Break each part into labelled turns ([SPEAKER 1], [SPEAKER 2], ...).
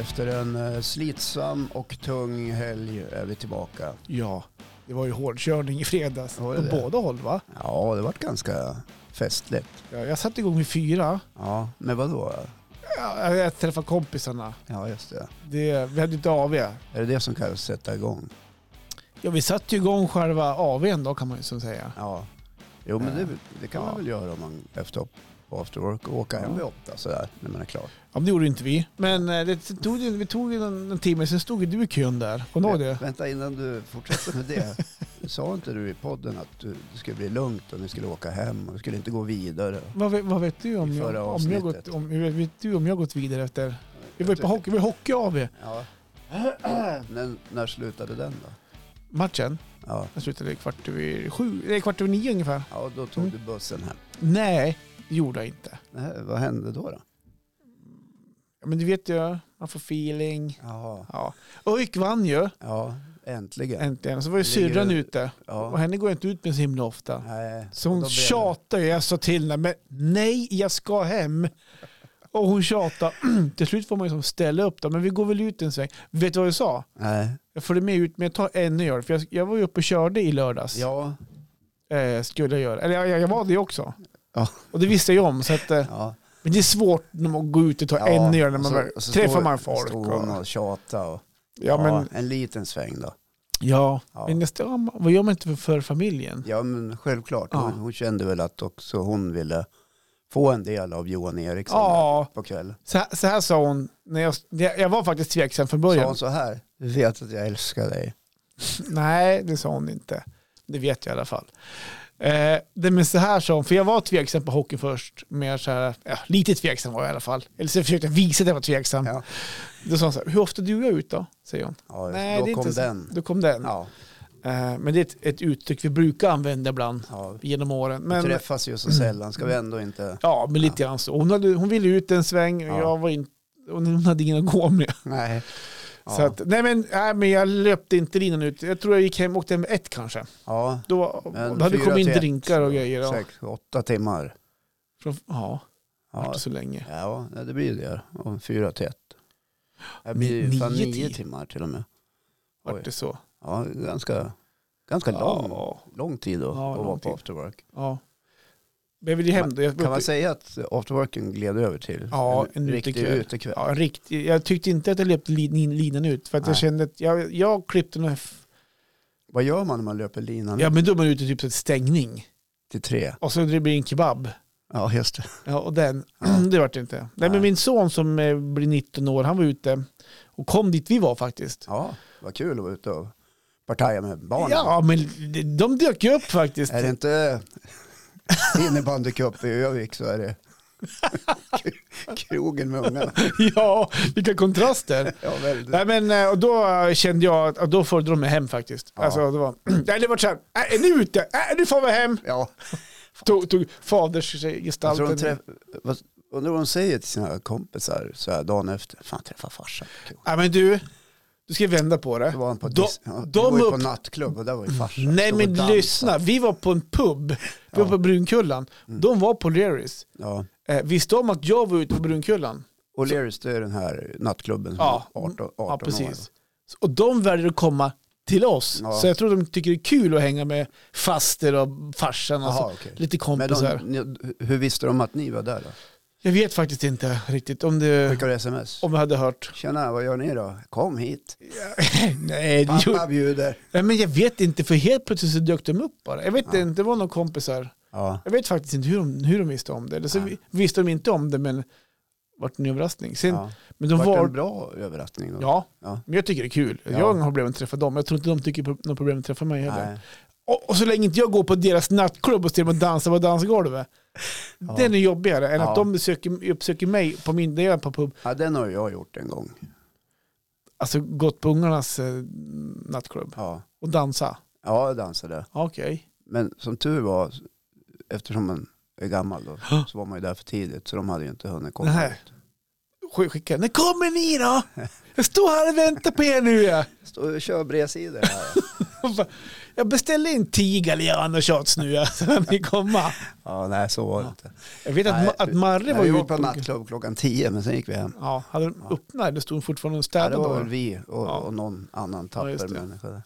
[SPEAKER 1] Efter en eh, slitsam och tung helg är vi tillbaka.
[SPEAKER 2] Ja, det var ju hårdkörning i fredags.
[SPEAKER 1] Var det
[SPEAKER 2] Åt
[SPEAKER 1] det?
[SPEAKER 2] båda håll va?
[SPEAKER 1] Ja, det vart ganska festligt.
[SPEAKER 2] Ja, jag satte igång vid fyra.
[SPEAKER 1] Ja, men vadå?
[SPEAKER 2] Ja, jag träffade kompisarna.
[SPEAKER 1] Ja, just det.
[SPEAKER 2] Det, vi hade inte AV.
[SPEAKER 1] Är det det som kallas sätta igång?
[SPEAKER 2] Ja, vi satte ju igång själva AWn då kan man ju så säga.
[SPEAKER 1] Ja. Jo, men det, det kan man
[SPEAKER 2] Ja.
[SPEAKER 1] väl göra om man efter på after work och åka hem
[SPEAKER 2] Ja.
[SPEAKER 1] vid åtta sådär när man är klar.
[SPEAKER 2] Ja, men det gjorde ju inte vi. Men eh, det tog, ju- vi tog ju en, en timme, sen stod ju du i kön där. Kommer du ihåg det?
[SPEAKER 1] Vänta innan du fortsätter med det. Sa inte du i podden att du, det skulle bli lugnt och ni skulle åka hem och du skulle inte gå vidare?
[SPEAKER 2] Vad, vet- vad vet du om,
[SPEAKER 1] I förra
[SPEAKER 2] jag, om, jag gått,
[SPEAKER 1] avsnittet.
[SPEAKER 2] om, hur vet du om jag gått vidare efter... Vi var ju på hockey, vi var hockey-AV.
[SPEAKER 1] Ja. Men när slutade den då?
[SPEAKER 2] Matchen,
[SPEAKER 1] Ja.
[SPEAKER 2] den slutade kvart över sju, nej kvart över nio ungefär.
[SPEAKER 1] Ja, då tog
[SPEAKER 2] Mm.
[SPEAKER 1] du bussen hem.
[SPEAKER 2] Nej, det gjorde jag inte.
[SPEAKER 1] Nej, vad hände då? då?
[SPEAKER 2] Ja, Men du vet ju, man får feeling.
[SPEAKER 1] Jaha.
[SPEAKER 2] Ja. ÖIK vann ju
[SPEAKER 1] Ja, äntligen.
[SPEAKER 2] äntligen. Så var ju
[SPEAKER 1] Ligger
[SPEAKER 2] syrran
[SPEAKER 1] du-
[SPEAKER 2] ute. Och
[SPEAKER 1] Ja.
[SPEAKER 2] henne går jag inte ut med så himla ofta.
[SPEAKER 1] Nej.
[SPEAKER 2] Så
[SPEAKER 1] och då
[SPEAKER 2] hon
[SPEAKER 1] blev
[SPEAKER 2] tjatade ju. Jag sa till henne, men nej, jag ska hem. Och hon tjatade. till slut får man ju som ställa upp då. Men vi går väl ut en sväng. Vet du vad jag sa?
[SPEAKER 1] det- Nej.
[SPEAKER 2] Jag följde med ut, men jag tar ännu gör För jag, jag var ju uppe och körde i lördags.
[SPEAKER 1] Ja.
[SPEAKER 2] Eh, skulle jag göra. Eller jag, jag, jag var det ju också.
[SPEAKER 1] Ja.
[SPEAKER 2] Och det visste jag ju om. Så att, eh,
[SPEAKER 1] ja.
[SPEAKER 2] men det är svårt när man går ut och tar
[SPEAKER 1] ja.
[SPEAKER 2] ännu gör när
[SPEAKER 1] och
[SPEAKER 2] man
[SPEAKER 1] så-
[SPEAKER 2] väl-
[SPEAKER 1] och så
[SPEAKER 2] träffar
[SPEAKER 1] stod-
[SPEAKER 2] man folk.
[SPEAKER 1] Stod
[SPEAKER 2] Och,
[SPEAKER 1] hon och tjatade. Och,
[SPEAKER 2] ja, men,
[SPEAKER 1] en liten sväng då.
[SPEAKER 2] Ja,
[SPEAKER 1] Ja.
[SPEAKER 2] men nästa, ja, ma- vad gör man inte för, för familjen?
[SPEAKER 1] Ja, men självklart.
[SPEAKER 2] Ja.
[SPEAKER 1] Hon, hon kände väl att också hon ville få en del av Johan Eriksson
[SPEAKER 2] Ja,
[SPEAKER 1] på kvällen.
[SPEAKER 2] så, här- så här sa hon. När jag, jag jag var faktiskt tveksam från
[SPEAKER 1] Sa
[SPEAKER 2] början.
[SPEAKER 1] hon så här? Du vet att jag älskar dig.
[SPEAKER 2] Nej, det sa hon inte. Det vet jag i alla fall. Eh, det, men så här sa hon, för jag var tveksam på hockey först. Mer så här, ja, lite tveksam var jag i alla fall. Eller så försökte jag visa att jag var tveksam.
[SPEAKER 1] Ja.
[SPEAKER 2] Då sa hon så här, hur ofta du går ut då? Säger hon.
[SPEAKER 1] Ja,
[SPEAKER 2] Nej,
[SPEAKER 1] då
[SPEAKER 2] det är
[SPEAKER 1] kom
[SPEAKER 2] inte så-
[SPEAKER 1] den.
[SPEAKER 2] Då kom den.
[SPEAKER 1] Ja,
[SPEAKER 2] Eh, men det är ett, ett uttryck vi brukar använda ibland
[SPEAKER 1] ja.
[SPEAKER 2] genom åren.
[SPEAKER 1] Vi
[SPEAKER 2] Men,
[SPEAKER 1] träffas ju så sällan. Ska vi ändå inte...
[SPEAKER 2] Ja, men lite grann så. Hon, hade, hon ville ut en sväng och
[SPEAKER 1] Ja.
[SPEAKER 2] jag var inte... Hon hade ingen att gå med.
[SPEAKER 1] Nej. Ja.
[SPEAKER 2] Så att, nej, men, nej, men jag löpte inte linan ut. Jag tror jag gick hem och åkte hem med ett kanske.
[SPEAKER 1] ja.
[SPEAKER 2] Då,
[SPEAKER 1] Men
[SPEAKER 2] då hade det
[SPEAKER 1] fyra
[SPEAKER 2] kommit in
[SPEAKER 1] till ett,
[SPEAKER 2] drinkar och grejer. Ja,
[SPEAKER 1] Sex, åtta timmar.
[SPEAKER 2] från, ja,
[SPEAKER 1] Ja,
[SPEAKER 2] inte så länge.
[SPEAKER 1] ja nej, det blir ju det. Om fyra till ett. Det
[SPEAKER 2] Ni-
[SPEAKER 1] blir ju fan
[SPEAKER 2] nio
[SPEAKER 1] nio
[SPEAKER 2] till-
[SPEAKER 1] timmar till och med. Oj.
[SPEAKER 2] Vart det så?
[SPEAKER 1] Ja, ganska, ganska lång,
[SPEAKER 2] Ja,
[SPEAKER 1] lång tid då,
[SPEAKER 2] Ja,
[SPEAKER 1] att
[SPEAKER 2] lång
[SPEAKER 1] vara på
[SPEAKER 2] tid.
[SPEAKER 1] after work.
[SPEAKER 2] ja. Men jag ville ju hem då. Jag,
[SPEAKER 1] Kan man säga att after worken gled över till
[SPEAKER 2] Ja, en
[SPEAKER 1] riktig
[SPEAKER 2] utekväll.
[SPEAKER 1] utekväll?
[SPEAKER 2] ja, riktigt, jag tyckte inte att jag löpte lin- linan ut. För att jag
[SPEAKER 1] Nej.
[SPEAKER 2] kände att jag, jag klippte några... f-
[SPEAKER 1] Vad gör man när man löper linan
[SPEAKER 2] Ja, men då var man ute typ till stängning.
[SPEAKER 1] till tre?
[SPEAKER 2] Och så det blir en kebab.
[SPEAKER 1] Ja, just det.
[SPEAKER 2] Ja, och den,
[SPEAKER 1] Ja.
[SPEAKER 2] det vart det inte. Nej,
[SPEAKER 1] Nej.
[SPEAKER 2] men min son som eh, blir 19 år, han var ute och kom dit vi var faktiskt.
[SPEAKER 1] Ja, vad kul att vara ute och partaja med barnen.
[SPEAKER 2] Ja, men de- de dök ju upp faktiskt.
[SPEAKER 1] Är det inte innebandycup i Övik så är det krogen med ungarna.
[SPEAKER 2] ja, vilka kontraster.
[SPEAKER 1] Ja, väldigt.
[SPEAKER 2] Nej, men eh, och då eh, kände jag att och då föredrog de mig hem faktiskt.
[SPEAKER 1] Ja.
[SPEAKER 2] Alltså, det var, nej, det var så här, äh, är ni ute? Äh, nu får vi hem.
[SPEAKER 1] Ja,
[SPEAKER 2] Tog, tog
[SPEAKER 1] jag tror de
[SPEAKER 2] fadersgestalten.
[SPEAKER 1] träff... vad- Undrar vad de säger till sina kompisar så här dagen efter. Fan, träffa farsan.
[SPEAKER 2] Nej, men du, du ska vända på det.
[SPEAKER 1] Det var han på,
[SPEAKER 2] De-
[SPEAKER 1] dis... ja,
[SPEAKER 2] de
[SPEAKER 1] de var ju på
[SPEAKER 2] upp-
[SPEAKER 1] nattklubb och där var ju farsan.
[SPEAKER 2] Nej,
[SPEAKER 1] Stod och
[SPEAKER 2] men
[SPEAKER 1] dansade.
[SPEAKER 2] lyssna. Vi var på en pub. Vi var
[SPEAKER 1] Ja. Mm.
[SPEAKER 2] på Brunkullan. De var på Learys.
[SPEAKER 1] Ja.
[SPEAKER 2] Eh, visste om att jag var ute på Brunkullan.
[SPEAKER 1] Och Learys, det är den här nattklubben som
[SPEAKER 2] Ja,
[SPEAKER 1] är 18, 18
[SPEAKER 2] Ja,
[SPEAKER 1] år.
[SPEAKER 2] precis. Och de väljer att komma till oss.
[SPEAKER 1] Ja.
[SPEAKER 2] Så jag tror de tycker det är kul att hänga med faster och farsan. och
[SPEAKER 1] Jaha,
[SPEAKER 2] så.
[SPEAKER 1] okej.
[SPEAKER 2] Lite
[SPEAKER 1] Men
[SPEAKER 2] kompisar.
[SPEAKER 1] de, ni, hur visste de att ni var där då?
[SPEAKER 2] Jag vet faktiskt inte riktigt om, det,
[SPEAKER 1] Skickade du sms?
[SPEAKER 2] om jag hade hört.
[SPEAKER 1] Tjena, vad gör ni då? Kom hit.
[SPEAKER 2] Nej, det gjorde,
[SPEAKER 1] Pappa bjuder.
[SPEAKER 2] Nej, men jag vet inte för helt plötsligt så dök de upp bara. Jag vet inte, det var några kompisar.
[SPEAKER 1] Ja.
[SPEAKER 2] Jag vet faktiskt inte hur de, hur de visste om det. Eller så
[SPEAKER 1] Ja.
[SPEAKER 2] vi- visste de inte om det men vart en överraskning. Sen,
[SPEAKER 1] ja.
[SPEAKER 2] men de
[SPEAKER 1] Vart
[SPEAKER 2] var,
[SPEAKER 1] en bra överraskning då?
[SPEAKER 2] ja,
[SPEAKER 1] Ja.
[SPEAKER 2] men jag tycker det är kul.
[SPEAKER 1] Ja.
[SPEAKER 2] Jag har problem med att träffa dem. Jag tror inte de tycker på- något problem med att träffa mig heller.
[SPEAKER 1] Nej.
[SPEAKER 2] Och, och så länge inte jag går på deras nattklubb och ser dem dansa på dansgolvet. Den är jobbigare än
[SPEAKER 1] Ja.
[SPEAKER 2] att de söker, uppsöker mig på min när jag är på pub.
[SPEAKER 1] Ja, den har jag gjort en gång.
[SPEAKER 2] Alltså gått på ungarnas eh, nattklubb
[SPEAKER 1] Ja,
[SPEAKER 2] och dansa.
[SPEAKER 1] ja jag dansade.
[SPEAKER 2] Ja, Okej.
[SPEAKER 1] Men som tur var, eftersom man är gammal då, så var man ju där för tidigt så de hade ju inte hunnit komma
[SPEAKER 2] Nej.
[SPEAKER 1] ut.
[SPEAKER 2] sk- skickade när kommer ni då? Jag står här och väntar på er nu. Ja.
[SPEAKER 1] Står och kör bredsidor här.
[SPEAKER 2] Och bara, Jag beställde in tio Galliano shots nu ja, så kan ni komma.
[SPEAKER 1] ja, nej så var det inte.
[SPEAKER 2] Jag vet att,
[SPEAKER 1] Nej,
[SPEAKER 2] Ma- att Marre
[SPEAKER 1] Nej,
[SPEAKER 2] var
[SPEAKER 1] vi
[SPEAKER 2] ju
[SPEAKER 1] var på
[SPEAKER 2] ute-
[SPEAKER 1] nattklubb klockan 10 men sen gick vi hem.
[SPEAKER 2] Ja, hade de öppnat? Det stod fortfarande och
[SPEAKER 1] Ja,
[SPEAKER 2] städade.
[SPEAKER 1] det var
[SPEAKER 2] bara.
[SPEAKER 1] väl vi och,
[SPEAKER 2] Ja.
[SPEAKER 1] och någon annan tapper
[SPEAKER 2] just det.
[SPEAKER 1] människa där.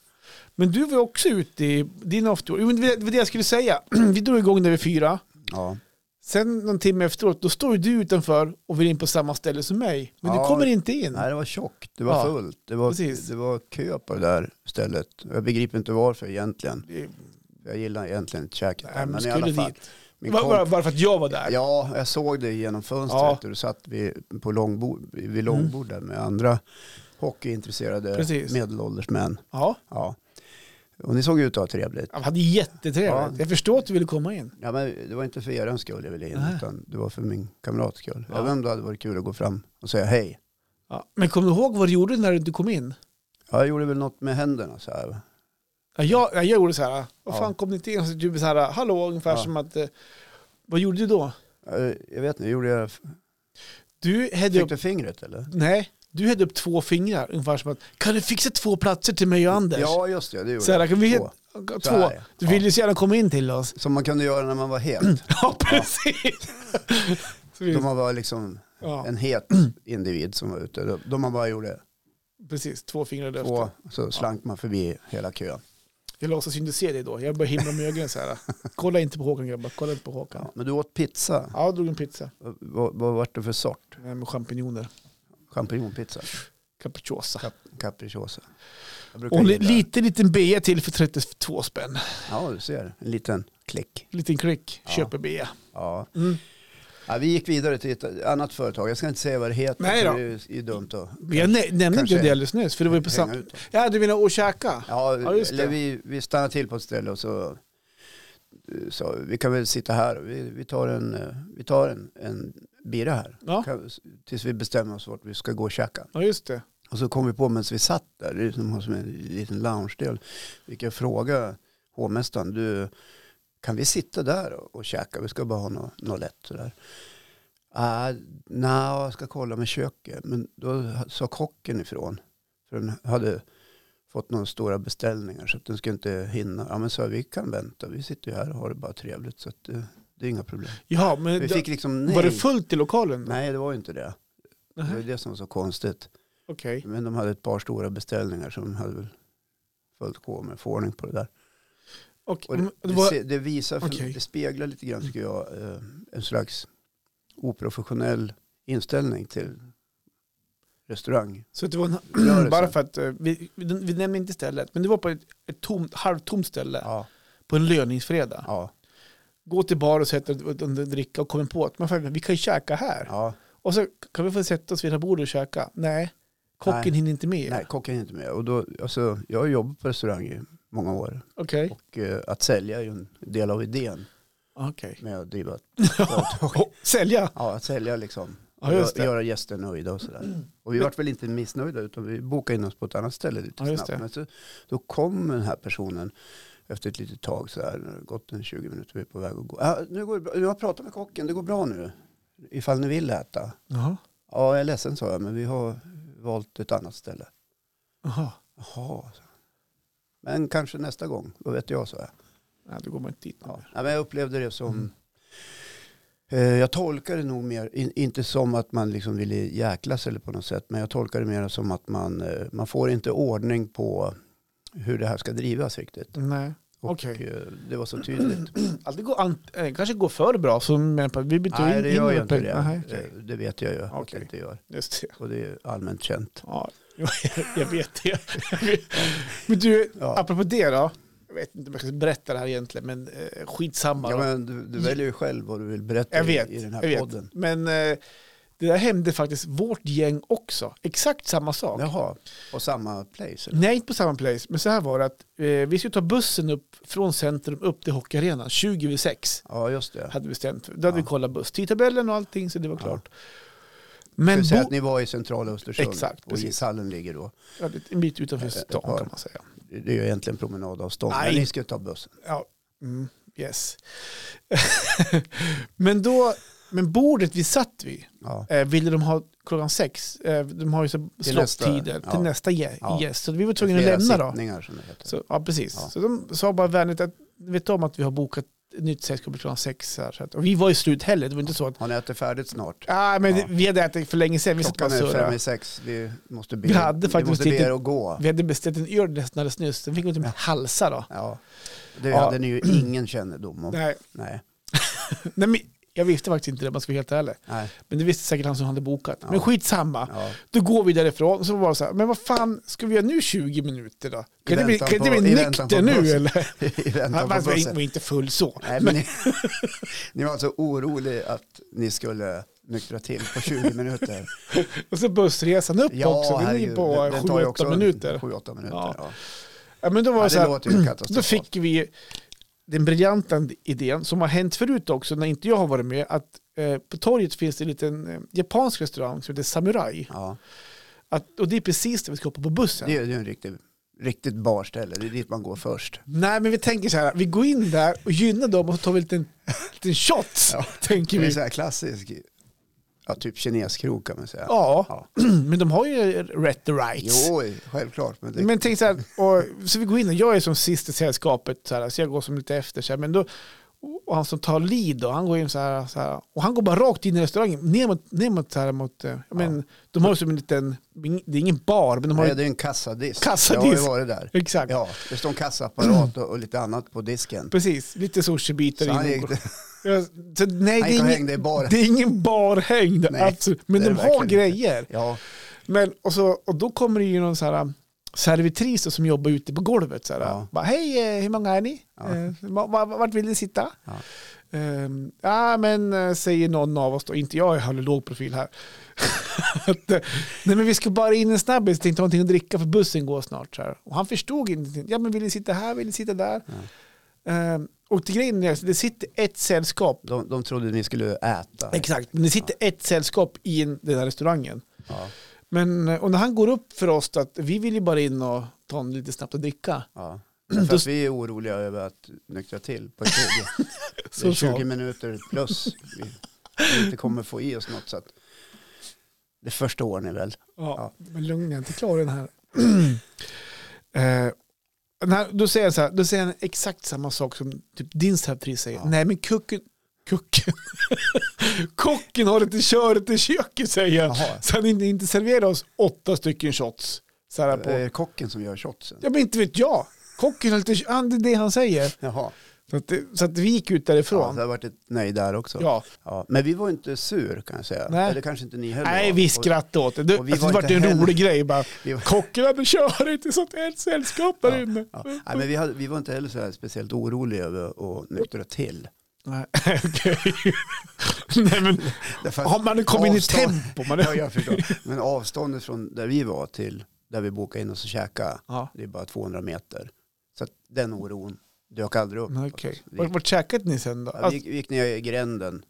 [SPEAKER 2] Men du var ju också ute i din after Jo, men det var det jag skulle säga. Vi drog igång där vid fyra.
[SPEAKER 1] Ja.
[SPEAKER 2] Sen någon timme efteråt, då står ju du utanför och vill in på samma ställe som mig. Men
[SPEAKER 1] Ja.
[SPEAKER 2] du kommer inte in.
[SPEAKER 1] Nej, det var tjockt, det var
[SPEAKER 2] Ja,
[SPEAKER 1] fullt, det var,
[SPEAKER 2] precis.
[SPEAKER 1] det var kö på det där stället. Jag begriper inte varför egentligen. Jag gillar egentligen inte käket.
[SPEAKER 2] Nej,
[SPEAKER 1] där,
[SPEAKER 2] men
[SPEAKER 1] men i
[SPEAKER 2] skulle
[SPEAKER 1] alla fall.
[SPEAKER 2] dit.
[SPEAKER 1] Min
[SPEAKER 2] Bara- bara,
[SPEAKER 1] komp-
[SPEAKER 2] bara för att jag var där.
[SPEAKER 1] ja, jag såg det genom fönstret
[SPEAKER 2] Ja. Mm.
[SPEAKER 1] och du satt vid, på långbord, vid långbord där med andra hockeyintresserade
[SPEAKER 2] Precis.
[SPEAKER 1] medelålders män.
[SPEAKER 2] Ja.
[SPEAKER 1] Ja. Och ni såg ut att ha trevligt.
[SPEAKER 2] Jag hade jättetrevligt.
[SPEAKER 1] Ja.
[SPEAKER 2] Jag förstår att du ville komma in.
[SPEAKER 1] Ja, men det var inte för er skull jag ville in,
[SPEAKER 2] Nej.
[SPEAKER 1] utan det var för min kamrats skull.
[SPEAKER 2] Ja.
[SPEAKER 1] Även om det hade varit kul att gå fram och säga hej.
[SPEAKER 2] Ja. Men kommer du ihåg vad du gjorde när du inte kom in?
[SPEAKER 1] Ja, jag gjorde väl något med händerna så här. va?
[SPEAKER 2] Ja, jag, ja, jag gjorde så här, vad
[SPEAKER 1] Ja.
[SPEAKER 2] fan kom ni inte in? Så du så här, hallå, ungefär
[SPEAKER 1] Ja.
[SPEAKER 2] som att, eh, vad gjorde du då?
[SPEAKER 1] Eh, Jag vet inte, gjorde jag...
[SPEAKER 2] Du hade
[SPEAKER 1] Fick
[SPEAKER 2] upp,
[SPEAKER 1] du fingret eller?
[SPEAKER 2] nej, du hade upp två fingrar, ungefär som att, kan du fixa två platser till mig och Anders?
[SPEAKER 1] Ja, just det, det gjorde
[SPEAKER 2] så här,
[SPEAKER 1] jag.
[SPEAKER 2] kan vi,
[SPEAKER 1] Två.
[SPEAKER 2] två.
[SPEAKER 1] Så här, ja.
[SPEAKER 2] Du ville ju så gärna komma in till oss.
[SPEAKER 1] Som man kunde göra när man var het.
[SPEAKER 2] Ja, precis. Så vi,
[SPEAKER 1] Då man var liksom
[SPEAKER 2] ja,
[SPEAKER 1] en het individ som var ute. Då- Då man bara gjorde
[SPEAKER 2] precis, två fingrar i
[SPEAKER 1] två,
[SPEAKER 2] luften.
[SPEAKER 1] så slank man förbi hela kön.
[SPEAKER 2] Jag låtsas ju inte se det då. Jag började himla med ögonen så här. Kolla inte på Håkan grabbar, kolla inte på Håkan.
[SPEAKER 1] Ja. Men du åt pizza.
[SPEAKER 2] Ja, jag drog en pizza
[SPEAKER 1] Vad, vad var det för sort?
[SPEAKER 2] Nej, med champinjoner.
[SPEAKER 1] Champinjonpizza?
[SPEAKER 2] Capricciosa.
[SPEAKER 1] Cap- Capricciosa? Jag brukar
[SPEAKER 2] Och li,
[SPEAKER 1] gilla-
[SPEAKER 2] lite, liten bea till för 32 spänn.
[SPEAKER 1] Ja, du ser. En liten klick.
[SPEAKER 2] Liten klick,
[SPEAKER 1] Ja.
[SPEAKER 2] köper bea.
[SPEAKER 1] Ja.
[SPEAKER 2] Mm.
[SPEAKER 1] Ja, vi gick vidare till ett annat företag. Jag ska inte säga vad det heter.
[SPEAKER 2] Nej
[SPEAKER 1] för
[SPEAKER 2] då.
[SPEAKER 1] Det är ju- är ju dumt att
[SPEAKER 2] Men Jag nä- nämnde
[SPEAKER 1] Kanske-
[SPEAKER 2] inte det alldeles nyss, för det var ju på
[SPEAKER 1] hänga
[SPEAKER 2] samma...
[SPEAKER 1] ut.
[SPEAKER 2] Ja, du menar att käka?
[SPEAKER 1] Ja,
[SPEAKER 2] Ja, just
[SPEAKER 1] eller
[SPEAKER 2] det.
[SPEAKER 1] vi, vi stannar till på ett ställe och så, så vi kan väl sitta här. Vi, vi tar en, eh, vi tar en, en bira här.
[SPEAKER 2] Ja.
[SPEAKER 1] Kan, tills vi bestämmer oss vart vi ska gå och käka.
[SPEAKER 2] Ja, just det.
[SPEAKER 1] Och så kom vi på medan vi satt där, det är som, som en liten loungedel. Vi kan fråga hovmästaren, du, kan vi sitta där och, och käka? Vi ska bara ha något nå lätt sådär. Ah, Nej, jag ska kolla med köket. Men då sa kocken ifrån. För den hade fått några stora beställningar så att den skulle inte hinna. Ja men så vi kan vänta, vi sitter ju här och har det bara trevligt så att det, det är inga problem.
[SPEAKER 2] Ja, men
[SPEAKER 1] Vi
[SPEAKER 2] då-
[SPEAKER 1] fick liksom nej.
[SPEAKER 2] var det fullt i lokalen?
[SPEAKER 1] Nej det var ju inte det. Det var ju
[SPEAKER 2] Nej.
[SPEAKER 1] det som var så konstigt.
[SPEAKER 2] Okej.
[SPEAKER 1] Men de hade ett par stora beställningar som de hade väl följt på med att få ordning på det där.
[SPEAKER 2] Och,
[SPEAKER 1] Och
[SPEAKER 2] men
[SPEAKER 1] det,
[SPEAKER 2] det
[SPEAKER 1] det,
[SPEAKER 2] var,
[SPEAKER 1] se- det visar, för,
[SPEAKER 2] Mm, Okej.
[SPEAKER 1] det speglar lite grann tycker jag, eh, en slags oprofessionell inställning till restaurang.
[SPEAKER 2] så det var
[SPEAKER 1] Rörelse.
[SPEAKER 2] en, bara för att eh, vi, vi, vi nämnde inte stället, men det var på ett, ett tomt, halvtomt ställe
[SPEAKER 1] Ja,
[SPEAKER 2] på en löningsfredag.
[SPEAKER 1] ja,
[SPEAKER 2] Gå till bar och sätta och, och, och dricka och komma på att men fan, vi kan ju käka här.
[SPEAKER 1] ja.
[SPEAKER 2] Och så kan vi få sätta oss vid det här bordet och käka. Nej, kocken
[SPEAKER 1] Nej.
[SPEAKER 2] hinner inte med.
[SPEAKER 1] Nej, kocken är inte med. Och då, alltså, jag har jobbat på restaurang i många år
[SPEAKER 2] Okej.
[SPEAKER 1] och eh, att sälja är ju en del av idén
[SPEAKER 2] Okej.
[SPEAKER 1] med att driva ett
[SPEAKER 2] Och Sälja?
[SPEAKER 1] Ja, att sälja liksom.
[SPEAKER 2] Ja, just det. Mm.
[SPEAKER 1] Göra gäster nöjda och sådär. Och vi
[SPEAKER 2] Men-
[SPEAKER 1] vart väl inte missnöjda utan vi bokade in oss på ett annat ställe lite
[SPEAKER 2] Ja, just det.
[SPEAKER 1] snabbt. Men så, då kom den här personen efter ett litet tag så här, när det gått en 20 minuter, vi är på väg att gå. Ja, nu går det bra. Jag har pratat med kocken, det går bra nu. Ifall ni vill äta.
[SPEAKER 2] Jaha.
[SPEAKER 1] Ja, jag är ledsen sa jag, men vi har valt ett annat ställe.
[SPEAKER 2] Jaha.
[SPEAKER 1] Jaha, sa jag. men kanske nästa gång, vad vet jag, sa jag.
[SPEAKER 2] Nej, då går man inte dit.
[SPEAKER 1] Ja.
[SPEAKER 2] Ja.
[SPEAKER 1] Ja, men jag upplevde det som...
[SPEAKER 2] Mm.
[SPEAKER 1] Eh, jag tolkar det nog mer, in, inte som att man liksom ville jäklas eller på något sätt, men jag tolkar det mer som att man, eh, man får inte ordning på hur det här ska drivas riktigt.
[SPEAKER 2] Nej.
[SPEAKER 1] Och
[SPEAKER 2] Okej.
[SPEAKER 1] eh, det var så tydligt.
[SPEAKER 2] Alltid går an- eh, kanske går för bra, så menar på, vi byter
[SPEAKER 1] Nej,
[SPEAKER 2] in
[SPEAKER 1] det gör
[SPEAKER 2] in
[SPEAKER 1] ju inte
[SPEAKER 2] med-
[SPEAKER 1] det.
[SPEAKER 2] Nej, okej.
[SPEAKER 1] Eh, Det vet jag ju att
[SPEAKER 2] Okej.
[SPEAKER 1] det inte gör.
[SPEAKER 2] Just det.
[SPEAKER 1] Och det är allmänt känt.
[SPEAKER 2] Ja, jo, jag- jag vet det. men du,
[SPEAKER 1] Ja.
[SPEAKER 2] apropå det då. Jag vet inte om jag ska berätta det här egentligen, men eh, skitsamma.
[SPEAKER 1] Ja,
[SPEAKER 2] då.
[SPEAKER 1] men du, du väljer ju själv vad du vill berätta
[SPEAKER 2] Jag
[SPEAKER 1] i-
[SPEAKER 2] vet,
[SPEAKER 1] i den
[SPEAKER 2] jag
[SPEAKER 1] här
[SPEAKER 2] vet.
[SPEAKER 1] podden.
[SPEAKER 2] Men eh, det där hände faktiskt vårt gäng också. Exakt samma sak.
[SPEAKER 1] Jaha, och samma place? Eller?
[SPEAKER 2] Nej, inte på samma place. Men så här var det att eh, vi skulle ta bussen upp från centrum upp till hockeyarenan 20 över 6.
[SPEAKER 1] Ja, just det.
[SPEAKER 2] Hade vi bestämt. Då hade vi
[SPEAKER 1] Ja.
[SPEAKER 2] kollat busstidtabellen och allting så det var klart.
[SPEAKER 1] Men
[SPEAKER 2] Men
[SPEAKER 1] säga
[SPEAKER 2] bo-
[SPEAKER 1] att ni var i centrala Östersund
[SPEAKER 2] Exakt,
[SPEAKER 1] och
[SPEAKER 2] precis.
[SPEAKER 1] ishallen ligger då.
[SPEAKER 2] Ja, det är en bit utanför
[SPEAKER 1] Ett- ett
[SPEAKER 2] stan
[SPEAKER 1] par.
[SPEAKER 2] kan man säga.
[SPEAKER 1] Det är ju egentligen promenadavstånd.
[SPEAKER 2] Nej.
[SPEAKER 1] Men ni ska ta bussen.
[SPEAKER 2] Ja, mm, yes. Men då Men bordet vi satt vid
[SPEAKER 1] Ja.
[SPEAKER 2] eh, ville de ha klockan sex. Eh, de har ju så slottider
[SPEAKER 1] nästa,
[SPEAKER 2] till
[SPEAKER 1] ja.
[SPEAKER 2] nästa gäst.
[SPEAKER 1] Ja.
[SPEAKER 2] Så vi var tvungna att
[SPEAKER 1] Flera
[SPEAKER 2] lämna då.
[SPEAKER 1] sittningar, som det heter.
[SPEAKER 2] Så, ja, precis.
[SPEAKER 1] Ja.
[SPEAKER 2] Så de sa bara vänligt att vet om att vi har bokat ett nytt sällskap klockan sex. Här, så att, och vi var ju slut heller. Det var inte så att
[SPEAKER 1] Har ni ätit färdigt snart?
[SPEAKER 2] ah, men
[SPEAKER 1] Ja.
[SPEAKER 2] vi hade ätit för länge sedan. Vi satt bara
[SPEAKER 1] Klockan är
[SPEAKER 2] surra.
[SPEAKER 1] fem i sex. Vi måste be,
[SPEAKER 2] Vi hade
[SPEAKER 1] vi
[SPEAKER 2] faktiskt
[SPEAKER 1] måste be
[SPEAKER 2] inte-
[SPEAKER 1] er att gå.
[SPEAKER 2] Vi hade beställt en öl nästan alldeles nyss. Den fick vi inte med halsa då.
[SPEAKER 1] Ja. Det
[SPEAKER 2] Ja.
[SPEAKER 1] hade ni ju ingen kännedom om.
[SPEAKER 2] Nej,
[SPEAKER 1] Nej.
[SPEAKER 2] nej men jag visste faktiskt inte det om man ska vara helt ärlig.
[SPEAKER 1] Nej.
[SPEAKER 2] Men det visste säkert han som hade bokat.
[SPEAKER 1] Ja.
[SPEAKER 2] Men skitsamma.
[SPEAKER 1] Ja.
[SPEAKER 2] Då går vi därifrån. Så var det så här, men vad fan ska vi göra nu 20 minuter då? Kan det bli,
[SPEAKER 1] väntan
[SPEAKER 2] kan det
[SPEAKER 1] på-
[SPEAKER 2] bli
[SPEAKER 1] i väntan på
[SPEAKER 2] nykter nu
[SPEAKER 1] bussen.
[SPEAKER 2] eller?
[SPEAKER 1] I
[SPEAKER 2] Han
[SPEAKER 1] väntan på
[SPEAKER 2] var
[SPEAKER 1] bussen.
[SPEAKER 2] inte full så.
[SPEAKER 1] Nej, men ni, ni var alltså oroliga att ni skulle nyktra till på 20 minuter.
[SPEAKER 2] Och så bussresan upp också, den är ju
[SPEAKER 1] herregud,
[SPEAKER 2] på
[SPEAKER 1] den- den tar ju också
[SPEAKER 2] 7-8 minuter.
[SPEAKER 1] 7-8 minuter.
[SPEAKER 2] Ja.
[SPEAKER 1] Ja.
[SPEAKER 2] Ja, men då var
[SPEAKER 1] Ja,
[SPEAKER 2] det
[SPEAKER 1] det
[SPEAKER 2] så här,
[SPEAKER 1] låter ju katastrofalt.
[SPEAKER 2] då fick vi den briljanta idén som har hänt förut också när inte jag har varit med att eh, på torget finns det en liten eh, japansk restaurang som heter Samurai.
[SPEAKER 1] Ja.
[SPEAKER 2] Att, och det är precis där vi ska hoppa på bussen.
[SPEAKER 1] Det är ju en riktig, riktigt barställe. Det är dit man går först.
[SPEAKER 2] Nej men vi tänker så här, vi går in där och gynnar dem och så tar vi en liten, liten shot. Tänker
[SPEAKER 1] Det är
[SPEAKER 2] vi.
[SPEAKER 1] så här klassisk, ja, typ kineskrog kan man säga.
[SPEAKER 2] Ja,
[SPEAKER 1] Ja.
[SPEAKER 2] men de har ju rätt the rights.
[SPEAKER 1] Jo, självklart. Men det,
[SPEAKER 2] Men tänk så här, och, så vi går in och jag är som sist i sällskapet, så, här, så jag går som lite efter. Så här, men då, och han som tar lead då, han går in så här, så här och han går bara rakt in i restaurangen, ner mot, ner mot, så här, mot eh, jag men, de har ju som en liten, det är ingen bar, men de har
[SPEAKER 1] nej,
[SPEAKER 2] ju,
[SPEAKER 1] det är en kassadisk.
[SPEAKER 2] Kassadisk.
[SPEAKER 1] Jag har ju varit där.
[SPEAKER 2] exakt,
[SPEAKER 1] Ja, det står en kassaapparat och, och lite annat på disken.
[SPEAKER 2] precis, lite sushibitar
[SPEAKER 1] Så han gick,
[SPEAKER 2] in. och- Ja, Så,
[SPEAKER 1] han
[SPEAKER 2] nej, det
[SPEAKER 1] gick och
[SPEAKER 2] är, ingen,
[SPEAKER 1] hängde i baren.
[SPEAKER 2] det är ingen barhängd,
[SPEAKER 1] Nej,
[SPEAKER 2] absolut. men
[SPEAKER 1] det är
[SPEAKER 2] de
[SPEAKER 1] det
[SPEAKER 2] har
[SPEAKER 1] verkligen inte.
[SPEAKER 2] grejer.
[SPEAKER 1] Ja,
[SPEAKER 2] Men, och, så, och då kommer det ju någon så här um, servitris då som jobbar ute på golvet. Så här,
[SPEAKER 1] Ja.
[SPEAKER 2] bara, Hej, eh, hur många är ni?
[SPEAKER 1] Ja.
[SPEAKER 2] Eh, va- va- vart vill ni sitta?
[SPEAKER 1] Ja.
[SPEAKER 2] Ehm, ja, men eh, säger någon av oss då, inte jag, jag håller låg profil här. att, eh, nej, men vi ska bara in en snabbis, tänkte ha någonting att dricka för bussen går snart. Så här. Och han förstod ingenting. Ja, men vill ni sitta här, vill ni sitta där? Ehm, och till grejen är, att det sitter ett sällskap
[SPEAKER 1] de, de trodde ni skulle äta.
[SPEAKER 2] Exakt, men det sitter ett sällskap i en- den här restaurangen.
[SPEAKER 1] Ja,
[SPEAKER 2] Men eh, och när han går upp för oss att vi vill ju bara in och ta en lite snabbt och dricka.
[SPEAKER 1] ja. För att vi är oroliga över att nyktra till på 20. Det är
[SPEAKER 2] Så sa
[SPEAKER 1] 20
[SPEAKER 2] han.
[SPEAKER 1] minuter plus. Vi inte kommer få i oss något. Så att det förstår ni väl?
[SPEAKER 2] Ja, men lugn jag är inte klar den här. eh, när, då, säger han så här, då säger han exakt samma sak som typ din servitris säger.
[SPEAKER 1] Ja.
[SPEAKER 2] Nej men kucken, kucken, kocken har inte köret i köket säger han.
[SPEAKER 1] Jaha.
[SPEAKER 2] Så han inte, inte serverar oss åtta stycken shots. Så här
[SPEAKER 1] Det
[SPEAKER 2] på.
[SPEAKER 1] är Eh, kocken som gör shotsen.
[SPEAKER 2] Ja men inte vet jag. Kocken har inte, han- det är det han säger.
[SPEAKER 1] Jaha.
[SPEAKER 2] Så, att, det- så att vi gick ut
[SPEAKER 1] Ja, så
[SPEAKER 2] därifrån.
[SPEAKER 1] det har varit ett nej där också.
[SPEAKER 2] Ja,
[SPEAKER 1] Ja, men vi var inte sur kan jag säga.
[SPEAKER 2] Nej.
[SPEAKER 1] Eller kanske inte ni heller
[SPEAKER 2] Nej,
[SPEAKER 1] var.
[SPEAKER 2] vi
[SPEAKER 1] Och
[SPEAKER 2] skrattade åt det. Det,
[SPEAKER 1] och vi
[SPEAKER 2] alltså, det
[SPEAKER 1] var
[SPEAKER 2] var
[SPEAKER 1] inte
[SPEAKER 2] en
[SPEAKER 1] heller-
[SPEAKER 2] rolig grej. Bara,
[SPEAKER 1] vi var-
[SPEAKER 2] kocken hade körit i sånt här sällskap där inne.
[SPEAKER 1] Ja. Nej, men vi, hade, vi var inte heller så här speciellt oroliga över att nyktra till.
[SPEAKER 2] Nej, okej. Nej, men
[SPEAKER 1] Därför att
[SPEAKER 2] har man kommit in i
[SPEAKER 1] avstånd-
[SPEAKER 2] tempo? Man
[SPEAKER 1] Ja, jag förstår. Men avståndet från där vi var till där vi bokade in oss och käkade,
[SPEAKER 2] Ja.
[SPEAKER 1] det är bara 200 meter. Så att den oron dök aldrig upp.
[SPEAKER 2] Nej, okej.
[SPEAKER 1] Vi,
[SPEAKER 2] Vart,
[SPEAKER 1] gick,
[SPEAKER 2] vart käkade ni sen då?
[SPEAKER 1] ja, vi,
[SPEAKER 2] Alltså,
[SPEAKER 1] gick, vi gick ner i gränden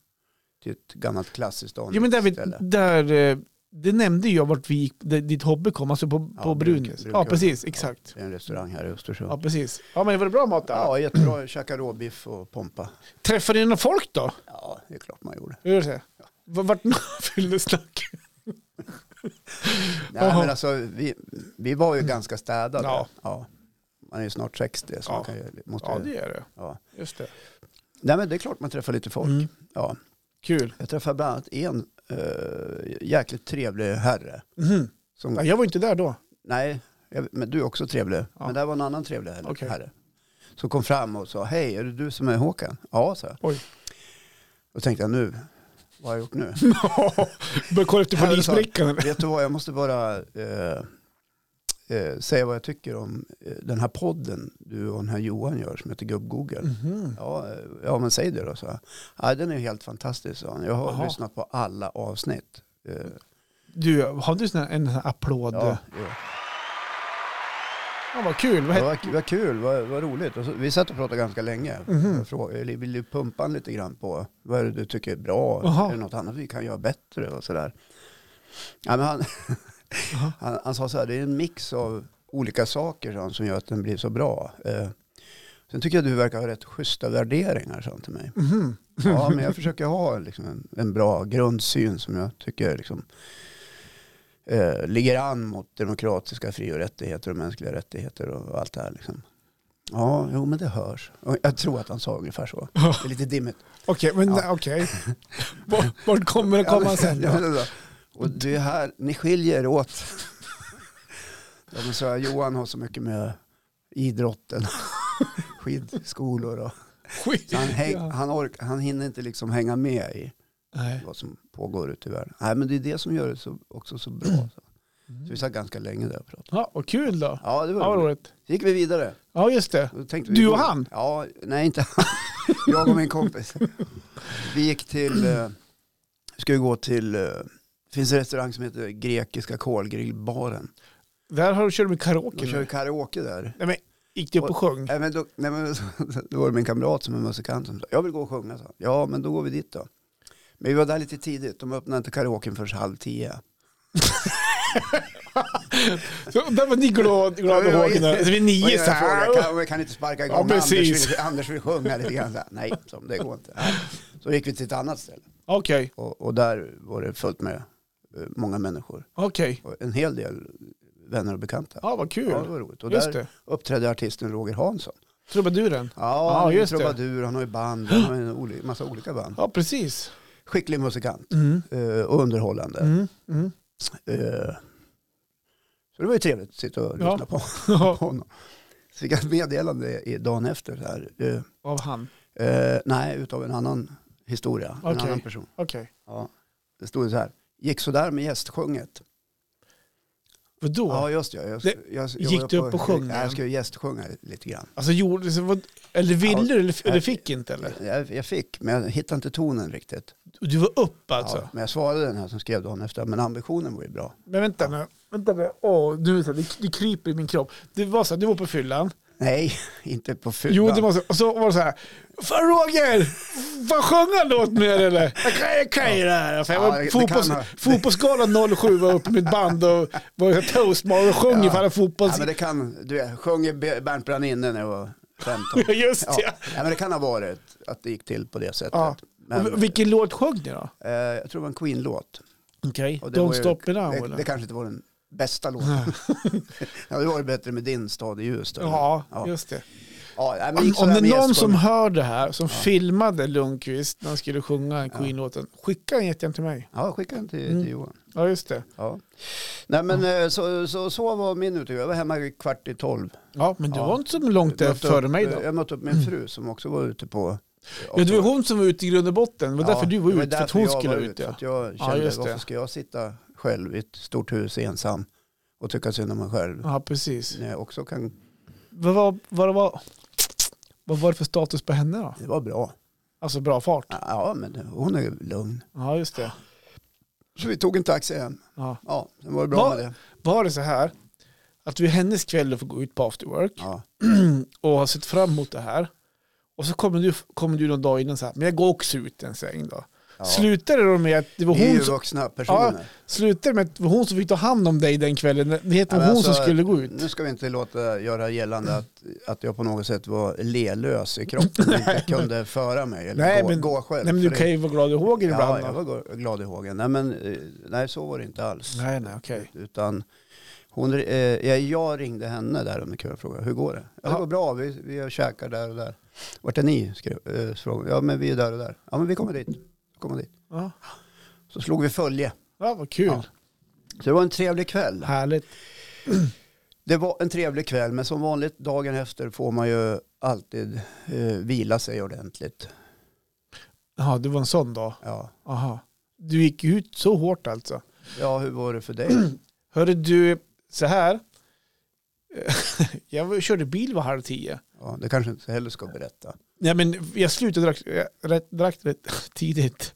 [SPEAKER 1] till ett gammalt klassiskt
[SPEAKER 2] ja, men där, vi,
[SPEAKER 1] ställe.
[SPEAKER 2] där, eh, det nämnde ju jag vart vi gick, där ditt hobby kom, alltså på,
[SPEAKER 1] Ja,
[SPEAKER 2] på
[SPEAKER 1] Brun-
[SPEAKER 2] Brunus. Ja,
[SPEAKER 1] Brunkullen.
[SPEAKER 2] precis,
[SPEAKER 1] Ja.
[SPEAKER 2] exakt.
[SPEAKER 1] Det är en restaurang här i Östersund.
[SPEAKER 2] Ja,
[SPEAKER 1] Ja,
[SPEAKER 2] precis. Ja, men var det bra mat där?
[SPEAKER 1] ja jättebra. Käka råbiff och pompa.
[SPEAKER 2] Träffade ni några folk då?
[SPEAKER 1] Ja, det är klart man gjorde.
[SPEAKER 2] Hur är det? Vart vart fyllde snack?
[SPEAKER 1] Nej,
[SPEAKER 2] Jaha.
[SPEAKER 1] men alltså, vi, vi var ju ganska städade.
[SPEAKER 2] Ja.
[SPEAKER 1] Ja. Man är ju snart 60 så
[SPEAKER 2] Ja.
[SPEAKER 1] man kan ju, måste,
[SPEAKER 2] Ja, det är det.
[SPEAKER 1] ja.
[SPEAKER 2] Just det.
[SPEAKER 1] Nej, men det är klart man träffar lite folk.
[SPEAKER 2] Mm.
[SPEAKER 1] Ja.
[SPEAKER 2] Kul.
[SPEAKER 1] Jag träffade bland annat en eh, jäkligt trevlig herre.
[SPEAKER 2] Mhm.
[SPEAKER 1] Som,
[SPEAKER 2] Ja,
[SPEAKER 1] nej,
[SPEAKER 2] jag var inte där då.
[SPEAKER 1] jag, men du är också trevlig.
[SPEAKER 2] Ja.
[SPEAKER 1] Men där var en annan trevlig herre,
[SPEAKER 2] Okej.
[SPEAKER 1] herre. Som kom fram och sa, hej, är det du som är Håkan? Ja, sa jag.
[SPEAKER 2] Oj.
[SPEAKER 1] Då tänkte jag, nu, vad har jag gjort nu?
[SPEAKER 2] Börjar kolla efter
[SPEAKER 1] Här är det
[SPEAKER 2] polisbrickan eller?
[SPEAKER 1] Vet du vad, jag måste bara eh, eh, säga vad jag tycker om eh, den här podden du och den här Johan gör som heter Gubb-Google.
[SPEAKER 2] Mhm.
[SPEAKER 1] Ja, eh, ja, men säg det då, så. Ja, den är ju helt fantastisk, sa han. Jag har
[SPEAKER 2] Jaha.
[SPEAKER 1] lyssnat på alla avsnitt. Eh,
[SPEAKER 2] Du, har du sån här, en sån här applåd?
[SPEAKER 1] ja,
[SPEAKER 2] Ja.
[SPEAKER 1] jo.
[SPEAKER 2] vad kul. Vad
[SPEAKER 1] Det
[SPEAKER 2] heter?
[SPEAKER 1] var, det var kul, vad, vad roligt. Och så, vi satt och pratade ganska länge.
[SPEAKER 2] Mhm.
[SPEAKER 1] Jag frågade, eller ville ju pumpa han lite grann på vad är det du tycker är bra?
[SPEAKER 2] Jaha.
[SPEAKER 1] Är det något annat vi kan göra bättre? Och sådär. Ja, men han,
[SPEAKER 2] Jaha.
[SPEAKER 1] han, han sa så här, det är en mix av olika saker sa han, som gör att den blir så bra. Eh, Sen tycker jag du verkar ha rätt schyssta värderingar, sa han till mig.
[SPEAKER 2] Mhm.
[SPEAKER 1] Ja, men jag försöker ha liksom en, en bra grundsyn som jag tycker liksom, eh, ligger an mot demokratiska fri och rättigheter och mänskliga rättigheter och allt det här. Liksom. Ja, jo men det hörs. Och jag tror att han sa ungefär så. Det är lite dimmigt.
[SPEAKER 2] Okej, men
[SPEAKER 1] Ja.
[SPEAKER 2] okej. Vart- Vart kommer det komma sen
[SPEAKER 1] Ja,
[SPEAKER 2] då?
[SPEAKER 1] men då. Och det här, ni skiljer er åt. Ja, men så här, Johan har så mycket med idrotten, skidskolor och
[SPEAKER 2] Skit.
[SPEAKER 1] så han, häng,
[SPEAKER 2] Ja.
[SPEAKER 1] han, ork, han hinner inte liksom hänga med i
[SPEAKER 2] Nej.
[SPEAKER 1] vad som pågår ute i världen. Nej, men det är det som gör det så, också så bra. Så. så vi satt ganska länge där och pratade.
[SPEAKER 2] Ja, vad kul då.
[SPEAKER 1] Ja, Mm. det
[SPEAKER 2] Ja,
[SPEAKER 1] var
[SPEAKER 2] vad
[SPEAKER 1] roligt.
[SPEAKER 2] roligt.
[SPEAKER 1] Så gick vi vidare.
[SPEAKER 2] Ja, just det.
[SPEAKER 1] Då tänkte
[SPEAKER 2] Du
[SPEAKER 1] vi,
[SPEAKER 2] och han?
[SPEAKER 1] Ja, nej inte han. Jag och min kompis. Vi gick till, eh, vi ska ju gå till, eh, det finns en restaurang som heter Grekiska kolgrillbaren.
[SPEAKER 2] Där har du kört med
[SPEAKER 1] De
[SPEAKER 2] karaoke.
[SPEAKER 1] kör
[SPEAKER 2] nu.
[SPEAKER 1] karaoke där.
[SPEAKER 2] Nej, men gick du upp och sjöng?
[SPEAKER 1] Nej, men då, nej, men, då var det min kamrat som är musikant som sa, jag vill gå och sjunga. Så. Ja, men då går vi dit då. Men vi var där lite tidigt, de öppnade inte karaoken förrän halv tio.
[SPEAKER 2] Så där var ni glada glad och
[SPEAKER 1] Ja, ja,
[SPEAKER 2] hågen. där. Så vi är
[SPEAKER 1] Och
[SPEAKER 2] nio
[SPEAKER 1] jag
[SPEAKER 2] så här.
[SPEAKER 1] frågade, kan, vi kan inte sparka igång,
[SPEAKER 2] Ja,
[SPEAKER 1] Anders,
[SPEAKER 2] precis.
[SPEAKER 1] vill, Anders vill sjunga lite grann. Så här, Nej, så, det går inte. Så gick vi till ett annat ställe.
[SPEAKER 2] Okej,
[SPEAKER 1] Och, och där var det fullt med eh, många människor.
[SPEAKER 2] okej.
[SPEAKER 1] Och en hel del vänner och bekanta.
[SPEAKER 2] Ja, vad
[SPEAKER 1] Ja, det
[SPEAKER 2] kul.
[SPEAKER 1] var roligt. Och där
[SPEAKER 2] Just det.
[SPEAKER 1] uppträdde artisten Roger Hansson.
[SPEAKER 2] Trubaduren.
[SPEAKER 1] Ja, han är
[SPEAKER 2] just
[SPEAKER 1] just
[SPEAKER 2] det.
[SPEAKER 1] trubadur, han har ju band, han har en oli- massa olika band.
[SPEAKER 2] Ja, precis.
[SPEAKER 1] Skicklig musikant
[SPEAKER 2] Mm.
[SPEAKER 1] eh, och underhållande.
[SPEAKER 2] Mm. Mm.
[SPEAKER 1] Eh, Så det var ju trevligt att sitta och
[SPEAKER 2] Ja.
[SPEAKER 1] lyssna på
[SPEAKER 2] Ja,
[SPEAKER 1] honom. Så fick jag ett meddelande i- dagen efter. Så här. eh,
[SPEAKER 2] Av han.
[SPEAKER 1] Eh, nej, utav en annan historia. En
[SPEAKER 2] Okej.
[SPEAKER 1] annan person.
[SPEAKER 2] Okej.
[SPEAKER 1] Ja. Det stod så här. Gick sådär med gästsjunget.
[SPEAKER 2] Vadå?
[SPEAKER 1] Ja, just det. Jag, jag,
[SPEAKER 2] Det-
[SPEAKER 1] jag, jag,
[SPEAKER 2] gick
[SPEAKER 1] var
[SPEAKER 2] du upp och sjöng
[SPEAKER 1] Jag,
[SPEAKER 2] igen?
[SPEAKER 1] jag skulle gästsjunga lite grann.
[SPEAKER 2] Alltså gjorde så vad, eller ville
[SPEAKER 1] Ja.
[SPEAKER 2] du eller, eller fick inte eller?
[SPEAKER 1] Jag, jag fick, men jag hittade inte tonen riktigt.
[SPEAKER 2] Du var upp alltså?
[SPEAKER 1] Ja, men jag svarade den här som skrev dagen efter. Men ambitionen var ju bra.
[SPEAKER 2] Men vänta nu. Vänta nu. Åh, du, det, det kryper i min kropp. Det var så här, du var på fyllan.
[SPEAKER 1] Nej, inte på fyllan.
[SPEAKER 2] Jo, det var så. Och så var det så här. Fan Roger! Fan sjöng han låt mer eller? Jag kan- Jag kan ju det här. För jag
[SPEAKER 1] Ja,
[SPEAKER 2] var
[SPEAKER 1] det
[SPEAKER 2] fotbolls,
[SPEAKER 1] kan han.
[SPEAKER 2] fotbollsgalan 07 var uppe med ett band och var toastmaster och sjöng
[SPEAKER 1] Ja.
[SPEAKER 2] ifall fotbolls...
[SPEAKER 1] Ja, men det kan, du vet, jag sjöng i Be- Bernt brann inne när jag var 15.
[SPEAKER 2] Just
[SPEAKER 1] Ja.
[SPEAKER 2] det. Ja.
[SPEAKER 1] Ja, men det kan ha varit att det gick till på det sättet.
[SPEAKER 2] Ja.
[SPEAKER 1] Men,
[SPEAKER 2] Och Vilken låt sjöng ni då?
[SPEAKER 1] eh, jag tror det var en Queen-låt.
[SPEAKER 2] Okej.
[SPEAKER 1] Och det
[SPEAKER 2] Don't
[SPEAKER 1] var ju-
[SPEAKER 2] stop me now
[SPEAKER 1] Det,
[SPEAKER 2] eller?
[SPEAKER 1] det kanske inte var den bästa låten. ja, det var ju bättre med din stad i ljus. då.
[SPEAKER 2] Ja,
[SPEAKER 1] Ja.
[SPEAKER 2] just det.
[SPEAKER 1] Ja, nej, men
[SPEAKER 2] Om,
[SPEAKER 1] gick
[SPEAKER 2] om
[SPEAKER 1] sådär
[SPEAKER 2] det
[SPEAKER 1] med
[SPEAKER 2] är någon som
[SPEAKER 1] gästgång.
[SPEAKER 2] hör det här, som filmade Lundqvist när han skulle sjunga Queen-låten, skicka en jättegärna till mig.
[SPEAKER 1] Ja, skicka den till,
[SPEAKER 2] Mm.
[SPEAKER 1] till Johan.
[SPEAKER 2] Ja, just det.
[SPEAKER 1] Ja. Nej, men eh, så, så, så var min utrymning. Jag var hemma i kvart i tolv.
[SPEAKER 2] Ja, men du
[SPEAKER 1] Ja.
[SPEAKER 2] var inte så långt
[SPEAKER 1] Jag
[SPEAKER 2] där
[SPEAKER 1] mötte
[SPEAKER 2] före
[SPEAKER 1] upp,
[SPEAKER 2] mig
[SPEAKER 1] eh,
[SPEAKER 2] då. Mm.
[SPEAKER 1] Jag mötte upp min fru som också var ute på...
[SPEAKER 2] Ja, det var hon som var ute i grund och botten. Det var därför du var
[SPEAKER 1] det
[SPEAKER 2] ute, för att
[SPEAKER 1] därför
[SPEAKER 2] hon
[SPEAKER 1] jag
[SPEAKER 2] skulle
[SPEAKER 1] var
[SPEAKER 2] ut.
[SPEAKER 1] För
[SPEAKER 2] Ja.
[SPEAKER 1] att jag kände,
[SPEAKER 2] just det.
[SPEAKER 1] varför ska jag sitta själv i ett stort hus ensam och tycka synd om mig själv?
[SPEAKER 2] ja, precis.
[SPEAKER 1] När jag också kan...
[SPEAKER 2] Vad var, vad, var, vad var det för status på henne då?
[SPEAKER 1] Det var bra.
[SPEAKER 2] Alltså bra fart.
[SPEAKER 1] Ja, men hon är lugn.
[SPEAKER 2] Ja, just det.
[SPEAKER 1] Så vi tog en taxi hem.
[SPEAKER 2] Ja.
[SPEAKER 1] Ja, sen var det bra
[SPEAKER 2] Vad-
[SPEAKER 1] med det.
[SPEAKER 2] Var det så här att vi hennes kväll får gå ut på after work
[SPEAKER 1] Ja.
[SPEAKER 2] och har sett fram emot det här. Och så kommer du, kommer du någon dag innan så här, men jag går också ut en sväng då.
[SPEAKER 1] Ja.
[SPEAKER 2] Slutade det då med att det var
[SPEAKER 1] Vi är
[SPEAKER 2] hon
[SPEAKER 1] ju
[SPEAKER 2] som,
[SPEAKER 1] vuxna personer.
[SPEAKER 2] slutade det med att det var hon som fick ta hand om dig den kvällen? Det heter
[SPEAKER 1] Ja, men
[SPEAKER 2] hon
[SPEAKER 1] alltså,
[SPEAKER 2] som skulle gå ut?
[SPEAKER 1] Nu ska vi inte låta göra gällande att, att jag på något sätt var lelös i kroppen och inte kunde föra mig eller
[SPEAKER 2] Nej,
[SPEAKER 1] gå,
[SPEAKER 2] men-
[SPEAKER 1] gå själv.
[SPEAKER 2] Nej men
[SPEAKER 1] För
[SPEAKER 2] du
[SPEAKER 1] det-
[SPEAKER 2] kan ju vara glad i hågen
[SPEAKER 1] Ja,
[SPEAKER 2] ibland.
[SPEAKER 1] jag
[SPEAKER 2] då.
[SPEAKER 1] var go- glad i hågen. Nej, men, eh, nej, så var det inte alls.
[SPEAKER 2] Nej, nej, okej.
[SPEAKER 1] Utan hon, eh, jag- jag ringde henne där under kvällen och frågade hur går det? Ja, det
[SPEAKER 2] Ja.
[SPEAKER 1] går bra, vi, vi käkar där och där. Vart är ni? Skrev, eh, frågade. Ja, men vi är där och där. Ja, men vi kommer dit. Kommer dit.
[SPEAKER 2] Ja.
[SPEAKER 1] Så slog vi följe.
[SPEAKER 2] ja, vad kul.
[SPEAKER 1] Ja. Så det var en trevlig kväll.
[SPEAKER 2] Härligt.
[SPEAKER 1] Det var en trevlig kväll, men som vanligt dagen efter får man ju alltid eh, vila sig ordentligt.
[SPEAKER 2] Ja, det var en sån dag.
[SPEAKER 1] Ja.
[SPEAKER 2] Aha. Du gick ut så hårt alltså.
[SPEAKER 1] ja, hur var det för dig?
[SPEAKER 2] Hörru du, så här. jag var- körde bil var halv tio.
[SPEAKER 1] Ja, det kanske inte heller ska berätta.
[SPEAKER 2] Nej men jag slutade drack, jag rätt, drack rätt tidigt.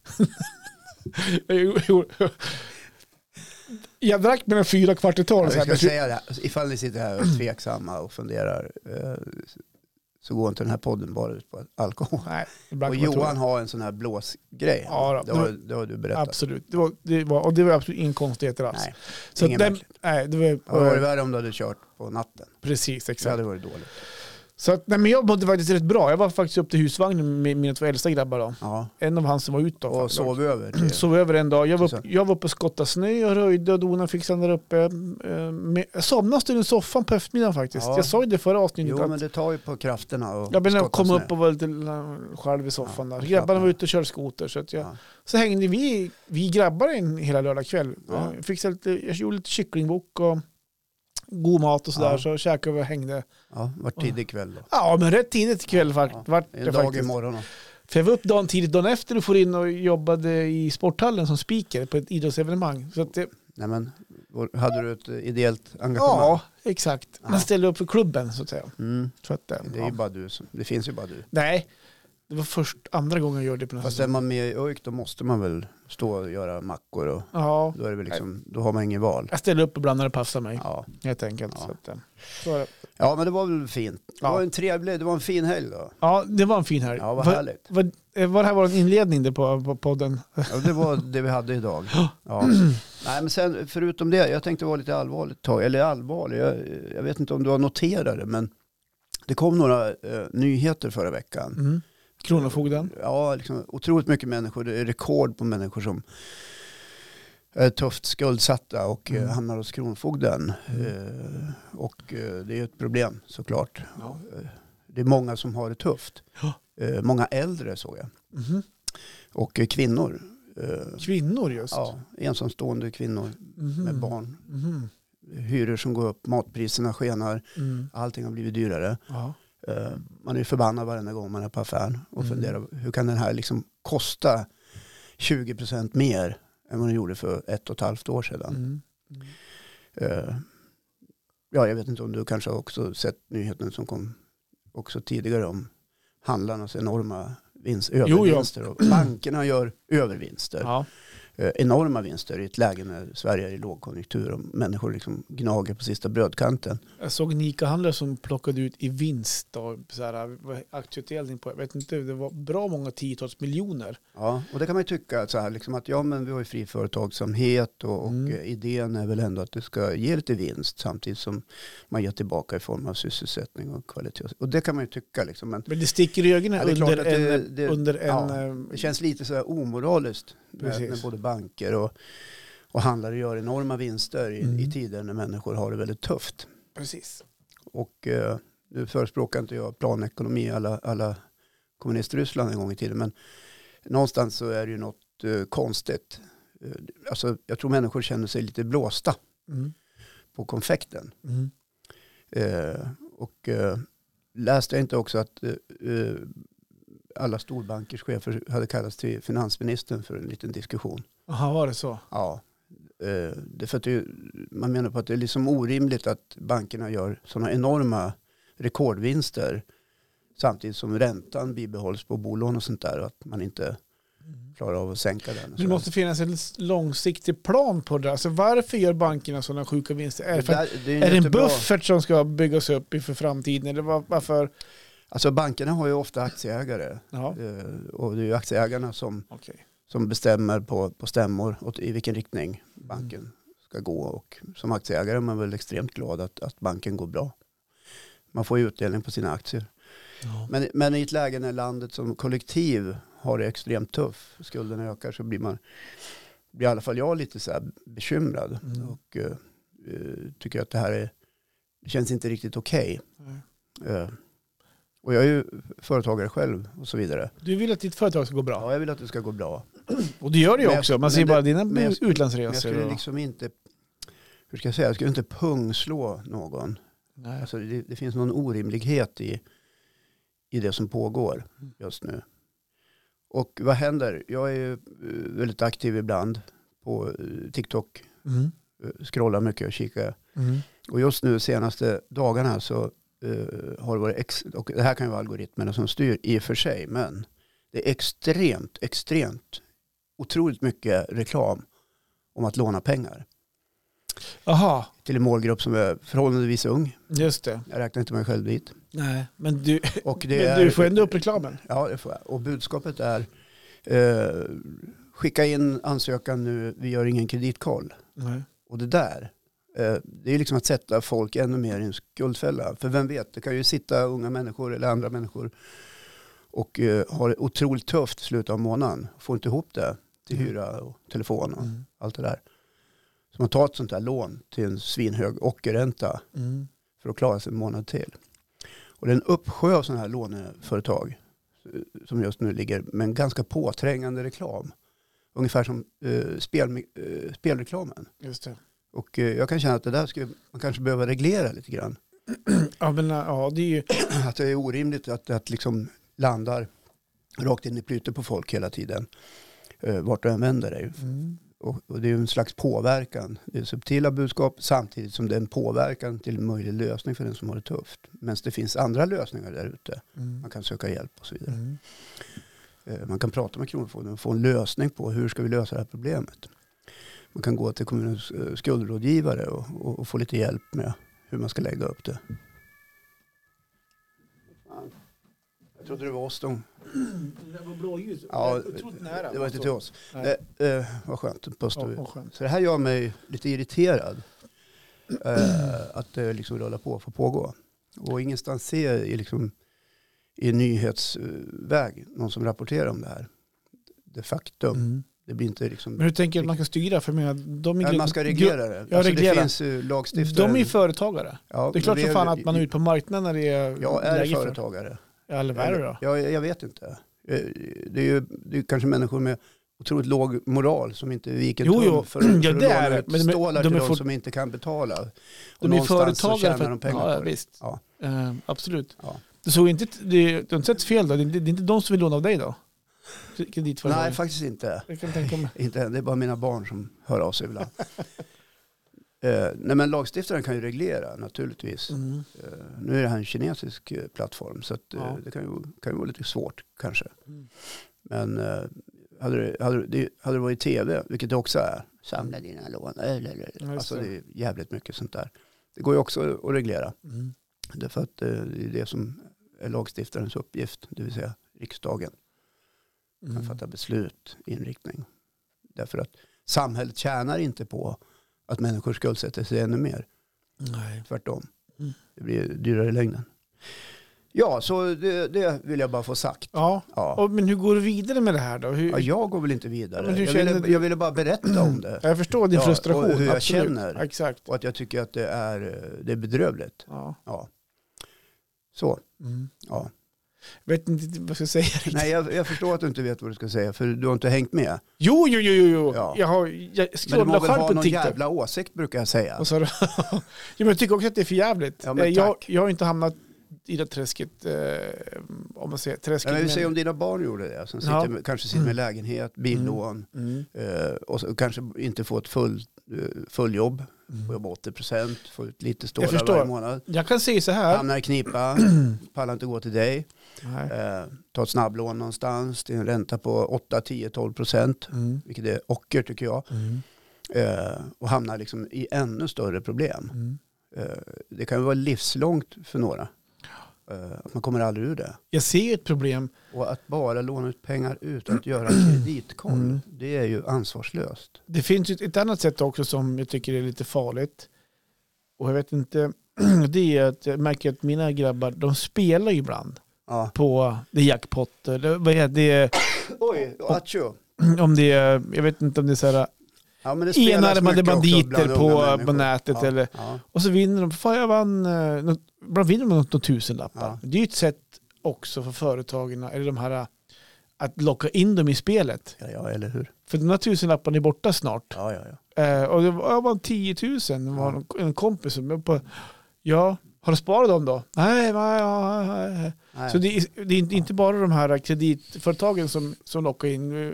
[SPEAKER 2] jag, gjorde- jag drack mellan fyra kvart i tolv.
[SPEAKER 1] Jag
[SPEAKER 2] så här,
[SPEAKER 1] ska
[SPEAKER 2] men-
[SPEAKER 1] säga det, här, ifall ni sitter här och är tveksamma och funderar eh, så går inte den här podden bara ut på alkohol.
[SPEAKER 2] Nej, ibland
[SPEAKER 1] Och
[SPEAKER 2] kan man tro
[SPEAKER 1] Johan har en sån här blåsgrej.
[SPEAKER 2] Ja,
[SPEAKER 1] det,
[SPEAKER 2] då.
[SPEAKER 1] har, det har du
[SPEAKER 2] det.
[SPEAKER 1] berättat.
[SPEAKER 2] Absolut. Det var, det var, och det var absolut inga konstigheter alls.
[SPEAKER 1] Nej,
[SPEAKER 2] så att
[SPEAKER 1] ingen
[SPEAKER 2] den,
[SPEAKER 1] märkligt.
[SPEAKER 2] nej, det var,
[SPEAKER 1] det hade varit värre om du hade kört på natten.
[SPEAKER 2] precis
[SPEAKER 1] Det
[SPEAKER 2] exakt.
[SPEAKER 1] hade varit dåligt.
[SPEAKER 2] Så att, nej, men jag mådde faktiskt rätt bra. Jag var faktiskt upp till husvagnen med mina två äldsta grabbar. Då.
[SPEAKER 1] Ja.
[SPEAKER 2] En av han som var ute. då,
[SPEAKER 1] Och
[SPEAKER 2] faktiskt.
[SPEAKER 1] sov över. till-
[SPEAKER 2] Sov över en dag. Jag var,
[SPEAKER 1] Så.
[SPEAKER 2] upp, jag var uppe och skottade snö och röjde och donade och fixade där uppe. Eh, Med, jag somnade en stund i soffan på eftermiddagen faktiskt.
[SPEAKER 1] Ja.
[SPEAKER 2] Jag sa ju det förra avsnittet.
[SPEAKER 1] Jo,
[SPEAKER 2] att-
[SPEAKER 1] men det tar ju på krafterna. Och
[SPEAKER 2] Ja, men jag
[SPEAKER 1] skotta
[SPEAKER 2] kom
[SPEAKER 1] snö.
[SPEAKER 2] upp och var lite eh, själv i soffan
[SPEAKER 1] Ja,
[SPEAKER 2] där.
[SPEAKER 1] och
[SPEAKER 2] Grabbarna
[SPEAKER 1] slappna.
[SPEAKER 2] var ute och körde skoter. Så, att jag,
[SPEAKER 1] Ja.
[SPEAKER 2] så hängde vi, vi grabbar in hela lördag kväll.
[SPEAKER 1] Ja.
[SPEAKER 2] Jag, fixade lite, jag gjorde lite kycklingbock och god mat och sådär.
[SPEAKER 1] Ja.
[SPEAKER 2] Så käkade vi och hängde.
[SPEAKER 1] Ja, var tidig kväll då.
[SPEAKER 2] Ja, men rätt tidigt ikväll fakt-
[SPEAKER 1] Ja.
[SPEAKER 2] vart
[SPEAKER 1] En
[SPEAKER 2] det
[SPEAKER 1] dag i
[SPEAKER 2] faktiskt.
[SPEAKER 1] morgon.
[SPEAKER 2] För jag var upp dagen tidigt, dagen efter och for in och jobbade i sporthallen som speaker på ett idrottsevenemang. Så att det,
[SPEAKER 1] Nej, men, vår- hade du ett eh, ideellt engagemang?
[SPEAKER 2] ja, exakt.
[SPEAKER 1] Ja.
[SPEAKER 2] Man ställde upp för klubben så att säga.
[SPEAKER 1] Mm.
[SPEAKER 2] Så att, eh,
[SPEAKER 1] Det, är ju
[SPEAKER 2] ja.
[SPEAKER 1] bara du som, det finns ju bara du.
[SPEAKER 2] Nej, det var först andra gången jag gjorde det på den här
[SPEAKER 1] Fast är
[SPEAKER 2] säsongen.
[SPEAKER 1] man med i ÖIK då måste man väl stå och göra mackor och
[SPEAKER 2] Ja,
[SPEAKER 1] då, är det väl liksom, då har man ingen val.
[SPEAKER 2] jag ställde upp ibland när det passade mig.
[SPEAKER 1] Ja.
[SPEAKER 2] Helt enkelt.
[SPEAKER 1] Ja.
[SPEAKER 2] Så att, eh, så är det.
[SPEAKER 1] ja, men det var väl fint. Det
[SPEAKER 2] Ja.
[SPEAKER 1] var en trevlig, det var en fin helg då.
[SPEAKER 2] ja, det var en fin helg.
[SPEAKER 1] Ja, vad
[SPEAKER 2] Var-
[SPEAKER 1] härligt.
[SPEAKER 2] Var, eh, var det här vår inledning där på, på podden?
[SPEAKER 1] Ja, det var det vi hade idag. Ja. Nej, men sen, förutom det, jag tänkte vara lite allvarligt ett tag. Eller allvarlig, jag, jag vet inte om du har noterat det, men det kom några eh, nyheter förra veckan.
[SPEAKER 2] Mm. Kronofogden.
[SPEAKER 1] Ja, liksom, otroligt mycket människor. Det är rekord på människor som är tufft skuldsatta och eh,
[SPEAKER 2] Mm.
[SPEAKER 1] hamnar hos Kronofogden.
[SPEAKER 2] Mm.
[SPEAKER 1] Eh, och eh, det är ett problem såklart.
[SPEAKER 2] Ja.
[SPEAKER 1] Eh, det är många som har det tufft.
[SPEAKER 2] Ja.
[SPEAKER 1] Eh, många äldre såg jag.
[SPEAKER 2] Mhm.
[SPEAKER 1] Och eh, kvinnor. Eh,
[SPEAKER 2] Kvinnor just.
[SPEAKER 1] ja, ensamstående kvinnor
[SPEAKER 2] Mhm.
[SPEAKER 1] med barn.
[SPEAKER 2] Mhm.
[SPEAKER 1] Hyror som går upp, matpriserna skenar,
[SPEAKER 2] Mm.
[SPEAKER 1] allting har blivit dyrare.
[SPEAKER 2] Ja.
[SPEAKER 1] Eh, Man är förbannad varenda gång man är på affären och
[SPEAKER 2] Mm.
[SPEAKER 1] funderar hur kan den här liksom kosta 20% mer än vad den gjorde för ett och ett halvt år sedan.
[SPEAKER 2] Mm.
[SPEAKER 1] Eh, Ja, jag vet inte om du kanske har också sett nyheten som kom också tidigare om handlarnas enorma vinst, övervinster. Och bankerna gör övervinster,
[SPEAKER 2] Ja.
[SPEAKER 1] Eh, enorma vinster i ett läge när Sverige är i lågkonjunktur och människor liksom gnager på sista brödkanten.
[SPEAKER 2] Jag såg en ICA-handlare som plockade ut i vinst då, så här, vad- aktieutdelning på, jag vet inte, det var bra många tiotals miljoner.
[SPEAKER 1] Ja, och det kan man ju tycka så här, liksom att ja, men vi har ju fri företagsamhet och, och
[SPEAKER 2] Mm.
[SPEAKER 1] eh, idén är väl ändå att det ska ge lite vinst samtidigt som man ger tillbaka i form av sysselsättning och kvalitet. Och det kan man ju tycka liksom, men
[SPEAKER 2] Men det sticker i ögonen
[SPEAKER 1] Ja, det är klart
[SPEAKER 2] under,
[SPEAKER 1] att
[SPEAKER 2] en,
[SPEAKER 1] det- det-
[SPEAKER 2] under en...
[SPEAKER 1] ja.
[SPEAKER 2] eh,
[SPEAKER 1] det känns lite så här omoraliskt med,
[SPEAKER 2] Precis.
[SPEAKER 1] när både banker och, och handlare gör enorma vinster i,
[SPEAKER 2] Mm.
[SPEAKER 1] i tider när människor har det väldigt tufft.
[SPEAKER 2] Precis.
[SPEAKER 1] Och eh, nu förespråkar inte jag planekonomi alla, alla kommunister-Ryssland en gång i tiden, men någonstans så är det ju något eh, konstigt. Eh, alltså, jag tror människor känner sig lite blåsta
[SPEAKER 2] Mm.
[SPEAKER 1] på konfekten.
[SPEAKER 2] Mm.
[SPEAKER 1] Eh, och eh, läste jag inte också att eh, eh, alla storbankers chefer hade kallats till finansministern för en liten diskussion.
[SPEAKER 2] Aha, var det så?
[SPEAKER 1] Ja, eh, det är för att det, är- man menar på att det är liksom orimligt att bankerna gör sådana enorma rekordvinster samtidigt som räntan bibehålls på bolån och sånt där och att man inte klarar av att sänka den. och
[SPEAKER 2] Det
[SPEAKER 1] sådär.
[SPEAKER 2] måste finnas en långsiktig plan på det där. Alltså varför gör bankerna sådana sjuka vinster? Är det, för,
[SPEAKER 1] där- det är,
[SPEAKER 2] är det en
[SPEAKER 1] jättebra-
[SPEAKER 2] buffert som ska byggas upp inför framtiden? Eller var, varför?
[SPEAKER 1] Alltså bankerna har ju ofta aktieägare
[SPEAKER 2] Ja,
[SPEAKER 1] eh, och det är ju aktieägarna som
[SPEAKER 2] okej.
[SPEAKER 1] som bestämmer på, på stämmor åt, i vilken riktning banken ska gå. Och som aktieägare är man väl extremt glad att, att banken går bra. Man får ju utdelning på sina aktier.
[SPEAKER 2] Ja.
[SPEAKER 1] Men, men i ett läge när landet som kollektiv har det extremt tufft, skulden ökar så blir man, blir i alla fall jag lite så här bekymrad.
[SPEAKER 2] Mm.
[SPEAKER 1] Och eh, eh, tycker att det här är, det känns inte riktigt okej.
[SPEAKER 2] Nej.
[SPEAKER 1] Eh, och jag är ju företagare själv och så vidare.
[SPEAKER 2] Du vill att ditt företag ska gå bra.
[SPEAKER 1] Ja, jag vill att det ska gå bra.
[SPEAKER 2] Och det gör det ju
[SPEAKER 1] Men-
[SPEAKER 2] också. Man
[SPEAKER 1] men
[SPEAKER 2] ser
[SPEAKER 1] det-
[SPEAKER 2] bara dina
[SPEAKER 1] men jag- Men jag
[SPEAKER 2] utlandsresor.
[SPEAKER 1] skulle
[SPEAKER 2] och-
[SPEAKER 1] liksom inte, hur ska jag säga, jag skulle inte pungslå någon.
[SPEAKER 2] Nej.
[SPEAKER 1] Alltså det, det finns någon orimlighet i, i det som pågår just nu. Och vad händer? Jag är ju eh, väldigt aktiv ibland på eh, TikTok,
[SPEAKER 2] Mm.
[SPEAKER 1] eh, scrollar mycket och kikar.
[SPEAKER 2] Mm.
[SPEAKER 1] Och just nu senaste dagarna så eh, har det varit, ex- och det här kan ju vara algoritmerna som styr i och för sig, men det är extremt, extremt, otroligt mycket reklam om att låna pengar.
[SPEAKER 2] Aha,
[SPEAKER 1] till en målgrupp som är förhållandevis ung.
[SPEAKER 2] just det.
[SPEAKER 1] Jag räknar inte mig själv dit.
[SPEAKER 2] Nej, men du,
[SPEAKER 1] Och det
[SPEAKER 2] men
[SPEAKER 1] är,
[SPEAKER 2] du får ändå upp reklamen.
[SPEAKER 1] Ja, det får jag. Och budskapet är eh, skicka in ansökan nu, vi gör ingen kreditkoll.
[SPEAKER 2] Nej.
[SPEAKER 1] Och det där Eh, Det är ju liksom att sätta folk ännu mer i en skuldfälla. För vem vet, det kan ju sitta unga människor eller andra människor och eh, har det otroligt tufft i slutet av månaden. Får inte ihop det till
[SPEAKER 2] Mm.
[SPEAKER 1] hyra och telefon och
[SPEAKER 2] Mm.
[SPEAKER 1] allt det där. Så man tar ett sånt här lån till en svinhög ockerränta
[SPEAKER 2] Mm.
[SPEAKER 1] för att klara sig en månad till. Och det är en uppsjö av sådana här låneföretag eh, som just nu ligger med en ganska påträngande reklam. Ungefär som eh, spel, eh, spelreklamen.
[SPEAKER 2] Just det.
[SPEAKER 1] Och eh, jag kan känna att det där skulle man kanske behöva reglera lite grann.
[SPEAKER 2] Ja, men, ja, det är ju...
[SPEAKER 1] Att det är orimligt att det liksom landar rakt in i plytet på folk hela tiden. Eh, vart du än vänder dig.
[SPEAKER 2] Mm.
[SPEAKER 1] Och, och det är ju en slags påverkan. Det är subtila budskap samtidigt som det är en påverkan till en möjlig lösning för den som har det tufft. Men det finns andra lösningar där ute.
[SPEAKER 2] Mm.
[SPEAKER 1] Man kan söka hjälp och så vidare.
[SPEAKER 2] Mm.
[SPEAKER 1] Eh, Man kan prata med Kronofogden och få en lösning på hur ska vi lösa det här problemet. Man kan gå till kommunens eh, skuldrådgivare och, och, och få lite hjälp med hur man ska lägga upp det. Fan. Jag trodde det var oss de...
[SPEAKER 2] Det var blåljus.
[SPEAKER 1] Ja,
[SPEAKER 2] Otroligt nära. alltså.
[SPEAKER 1] Det var inte till oss.
[SPEAKER 2] Nej.
[SPEAKER 1] Det, eh, vad skönt. Post
[SPEAKER 2] Ja, vad skönt.
[SPEAKER 1] Så det här gör mig lite irriterad. Eh, att det liksom rullar på och får pågå. Och ingenstans ser jag i, liksom, i nyhetsväg någon som rapporterar om det här. Det faktum.
[SPEAKER 2] Mm.
[SPEAKER 1] Det blir inte liksom...
[SPEAKER 2] Men hur tänker du att man kan styra? För jag menar, de är
[SPEAKER 1] Nej,
[SPEAKER 2] gru-
[SPEAKER 1] man ska reglera det.
[SPEAKER 2] Ja,
[SPEAKER 1] alltså, Det
[SPEAKER 2] reglera.
[SPEAKER 1] finns ju lagstiftare.
[SPEAKER 2] De är ju företagare.
[SPEAKER 1] ja,
[SPEAKER 2] Det är klart
[SPEAKER 1] men
[SPEAKER 2] som fan att man är ute på marknaden när det är
[SPEAKER 1] Jag är
[SPEAKER 2] läge för-
[SPEAKER 1] företagare.
[SPEAKER 2] Ja, eller vad är det då?
[SPEAKER 1] Ja, jag, jag vet inte. Eh, Det är ju det är kanske människor med otroligt låg moral som inte viker en
[SPEAKER 2] Jo, jo.
[SPEAKER 1] tum för, för
[SPEAKER 2] Ja,
[SPEAKER 1] att
[SPEAKER 2] det är
[SPEAKER 1] låna
[SPEAKER 2] det.
[SPEAKER 1] ut
[SPEAKER 2] Men de är-
[SPEAKER 1] stålar
[SPEAKER 2] de
[SPEAKER 1] till
[SPEAKER 2] är
[SPEAKER 1] de
[SPEAKER 2] fort-
[SPEAKER 1] som inte kan betala. Och
[SPEAKER 2] De är
[SPEAKER 1] någonstans så
[SPEAKER 2] företagare
[SPEAKER 1] tjänar
[SPEAKER 2] för
[SPEAKER 1] de pengar
[SPEAKER 2] ja,
[SPEAKER 1] på det.
[SPEAKER 2] visst.
[SPEAKER 1] Ja.
[SPEAKER 2] Eh, absolut.
[SPEAKER 1] Ja.
[SPEAKER 2] Du såg inte, det, du har inte sett fel då? Det, det, det är inte de som vill låna av dig då? Kreditföretagen?
[SPEAKER 1] Nej, faktiskt inte.
[SPEAKER 2] Jag kan tänka mig.
[SPEAKER 1] inte. än. Det är bara mina barn som hör av sig ibland. Eh, nej, men lagstiftaren kan ju reglera naturligtvis.
[SPEAKER 2] Mm.
[SPEAKER 1] Eh, Nu är det här en kinesisk eh, plattform så att, eh,
[SPEAKER 2] Ja.
[SPEAKER 1] det kan ju, kan ju vara lite svårt kanske.
[SPEAKER 2] Mm.
[SPEAKER 1] Men eh, hade det, hade, det- det, hade det varit tv, vilket det också är, samla dina lån, eller, eller,
[SPEAKER 2] Ja, just
[SPEAKER 1] alltså
[SPEAKER 2] det.
[SPEAKER 1] det är jävligt mycket sånt där. Det går ju också att reglera,
[SPEAKER 2] Mm.
[SPEAKER 1] därför att eh, det är det som är lagstiftarens uppgift, det vill säga riksdagen kan
[SPEAKER 2] Mm.
[SPEAKER 1] fatta beslut, inriktning. Därför att samhället tjänar inte på att människor skuldsätter sig ännu mer.
[SPEAKER 2] Nej.
[SPEAKER 1] Tvärtom.
[SPEAKER 2] Mm.
[SPEAKER 1] Det blir dyrare i längden. Ja, så det, det vill jag bara få sagt.
[SPEAKER 2] Ja,
[SPEAKER 1] Ja.
[SPEAKER 2] och, men hur går du vidare med det här då? Hur,
[SPEAKER 1] Ja, jag går väl inte
[SPEAKER 2] Ja,
[SPEAKER 1] vidare.
[SPEAKER 2] men hur
[SPEAKER 1] jag,
[SPEAKER 2] känner
[SPEAKER 1] ville,
[SPEAKER 2] du?
[SPEAKER 1] jag ville bara berätta om det.
[SPEAKER 2] jag förstår din
[SPEAKER 1] Ja,
[SPEAKER 2] frustration.
[SPEAKER 1] och hur jag
[SPEAKER 2] absolut.
[SPEAKER 1] känner.
[SPEAKER 2] Exakt.
[SPEAKER 1] Och att jag tycker att det är, eh, det är bedrövligt.
[SPEAKER 2] Ja.
[SPEAKER 1] Ja. Så,
[SPEAKER 2] Mm.
[SPEAKER 1] ja.
[SPEAKER 2] Vet inte vad jag ska säga riktigt.
[SPEAKER 1] Nej, jag, jag förstår att du inte vet vad du ska säga, för du har inte hängt med.
[SPEAKER 2] Jo, jo, jo, jo, jo.
[SPEAKER 1] Ja.
[SPEAKER 2] Jag har, jag
[SPEAKER 1] Men du må
[SPEAKER 2] scrollar
[SPEAKER 1] väl
[SPEAKER 2] själv
[SPEAKER 1] ha
[SPEAKER 2] på
[SPEAKER 1] någon
[SPEAKER 2] TikTok.
[SPEAKER 1] jävla åsikt, brukar jag säga.
[SPEAKER 2] Vad sa du? jo, men jag tycker också att det är för jävligt.
[SPEAKER 1] Ja, men
[SPEAKER 2] Eh, jag,
[SPEAKER 1] tack.
[SPEAKER 2] jag har inte hamnat i det träsket, eh, om man säger träsket.
[SPEAKER 1] Nej, men vi
[SPEAKER 2] men-
[SPEAKER 1] säger om dina barn gjorde det, som
[SPEAKER 2] Ja.
[SPEAKER 1] sitter, med- kanske sitter med lägenhet, billån,
[SPEAKER 2] Mm.
[SPEAKER 1] eh, och så, kanske inte får ett full, eh, fulljobb,
[SPEAKER 2] Mm.
[SPEAKER 1] Får jobba 80 procent, får ut lite stålar
[SPEAKER 2] Jag förstår.
[SPEAKER 1] varje månad.
[SPEAKER 2] Jag kan säga så här.
[SPEAKER 1] Hamnar i knipa, pallar inte gå till dig.
[SPEAKER 2] Nej.
[SPEAKER 1] Eh, tar ett snabblån någonstans till en ränta på 8, 10, 12 procent.
[SPEAKER 2] Mm.
[SPEAKER 1] Vilket är ocker tycker jag.
[SPEAKER 2] Mm.
[SPEAKER 1] Eh, och hamnar liksom i ännu större problem.
[SPEAKER 2] Mm.
[SPEAKER 1] Eh, det kan ju vara livslångt för några. Eh, att man kommer aldrig ur det.
[SPEAKER 2] Jag ser ett problem.
[SPEAKER 1] Och att bara låna ut pengar utan att göra en kreditkoll,
[SPEAKER 2] Mm.
[SPEAKER 1] det är ju ansvarslöst.
[SPEAKER 2] Det finns ju ett- ett annat sätt också som jag tycker är lite farligt. Och jag vet inte. Det är att jag märker att mina grabbar, de spelar ju ibland
[SPEAKER 1] Ja.
[SPEAKER 2] på det är jackpot. Eller vad är det?
[SPEAKER 1] Oj, attjo.
[SPEAKER 2] Om det är, jag vet inte om det är så här
[SPEAKER 1] Ja, men det spelas
[SPEAKER 2] enarmade
[SPEAKER 1] mycket också
[SPEAKER 2] banditer
[SPEAKER 1] bland
[SPEAKER 2] på,
[SPEAKER 1] unga
[SPEAKER 2] på
[SPEAKER 1] människor.
[SPEAKER 2] nätet.
[SPEAKER 1] Ja,
[SPEAKER 2] Eller,
[SPEAKER 1] ja.
[SPEAKER 2] Och så vinner de. Fan, jag vann. eh, något- Ibland vinner man något, något tusenlappar.
[SPEAKER 1] Ja.
[SPEAKER 2] Det är ju ett sätt också för företagen, eller de här, eh, att locka in dem i spelet.
[SPEAKER 1] Ja, ja, eller hur?
[SPEAKER 2] För de här tusenlapparna är borta snart.
[SPEAKER 1] Ja, ja, ja.
[SPEAKER 2] Eh, och det var, jag vann 10 000. Det var en, en kompis som jag på, ja, har du sparat dem då? Nej, nej, nej, nej, nej.
[SPEAKER 1] Nej.
[SPEAKER 2] Så det är, det är inte- inte bara de här kreditföretagen som, som lockar in eh,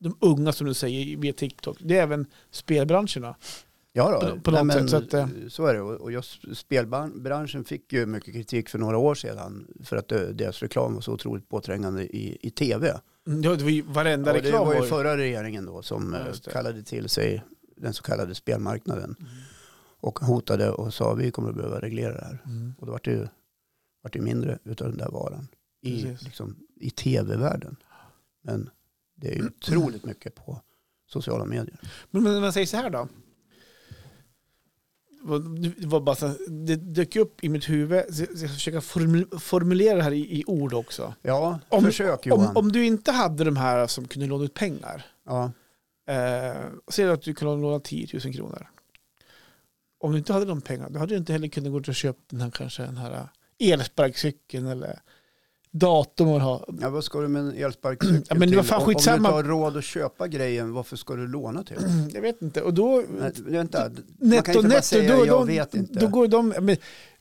[SPEAKER 2] de unga som du säger via TikTok. Det är även spelbranscherna.
[SPEAKER 1] ja då.
[SPEAKER 2] på- på något sätt, så att, eh.
[SPEAKER 1] så är det. Och och just spelbranschen fick ju mycket kritik för några år sedan för att eh, deras reklam var så otroligt påträngande i, i tv.
[SPEAKER 2] Mm, Det var ju varenda
[SPEAKER 1] Ja, det
[SPEAKER 2] reklam.
[SPEAKER 1] var ju
[SPEAKER 2] var ju-
[SPEAKER 1] förra regeringen då som
[SPEAKER 2] Ja,
[SPEAKER 1] eh,
[SPEAKER 2] just det.
[SPEAKER 1] kallade till sig den så kallade spelmarknaden och hotade och sa vi kommer att behöva reglera det här.
[SPEAKER 2] Mm.
[SPEAKER 1] Och då vart det ju vart det mindre utav den där varan i,
[SPEAKER 2] Precis.
[SPEAKER 1] liksom, i tv-världen. Men det är ju otroligt mycket på sociala medier.
[SPEAKER 2] Men men om man säger så här då. det, var bara så, det dök upp i mitt huvud, så jag ska försöka formu- formulera det här i, i ord också.
[SPEAKER 1] Ja,
[SPEAKER 2] Om-
[SPEAKER 1] försök Johan.
[SPEAKER 2] Om, om du inte hade de här som kunde låna ut pengar,
[SPEAKER 1] ja.
[SPEAKER 2] eh, säg att du kunde låna 10 000 kronor. Om du inte hade de pengarna, då hade du inte heller kunnat gå ut och köpa den här, kanske den här eh, elsparkcykeln eller datorn. man har.
[SPEAKER 1] ja, vad ska du med en elsparkcykel
[SPEAKER 2] Ja, men det var
[SPEAKER 1] till?
[SPEAKER 2] fan
[SPEAKER 1] Om- Om du
[SPEAKER 2] skitsamma.
[SPEAKER 1] inte har råd att köpa grejen, varför ska du låna till?
[SPEAKER 2] Jag vet inte. Och då,
[SPEAKER 1] Nej, vänta, man kan
[SPEAKER 2] netto,
[SPEAKER 1] inte bara
[SPEAKER 2] netto,
[SPEAKER 1] säga
[SPEAKER 2] då,
[SPEAKER 1] jag
[SPEAKER 2] då,
[SPEAKER 1] vet inte.
[SPEAKER 2] då går de... Men,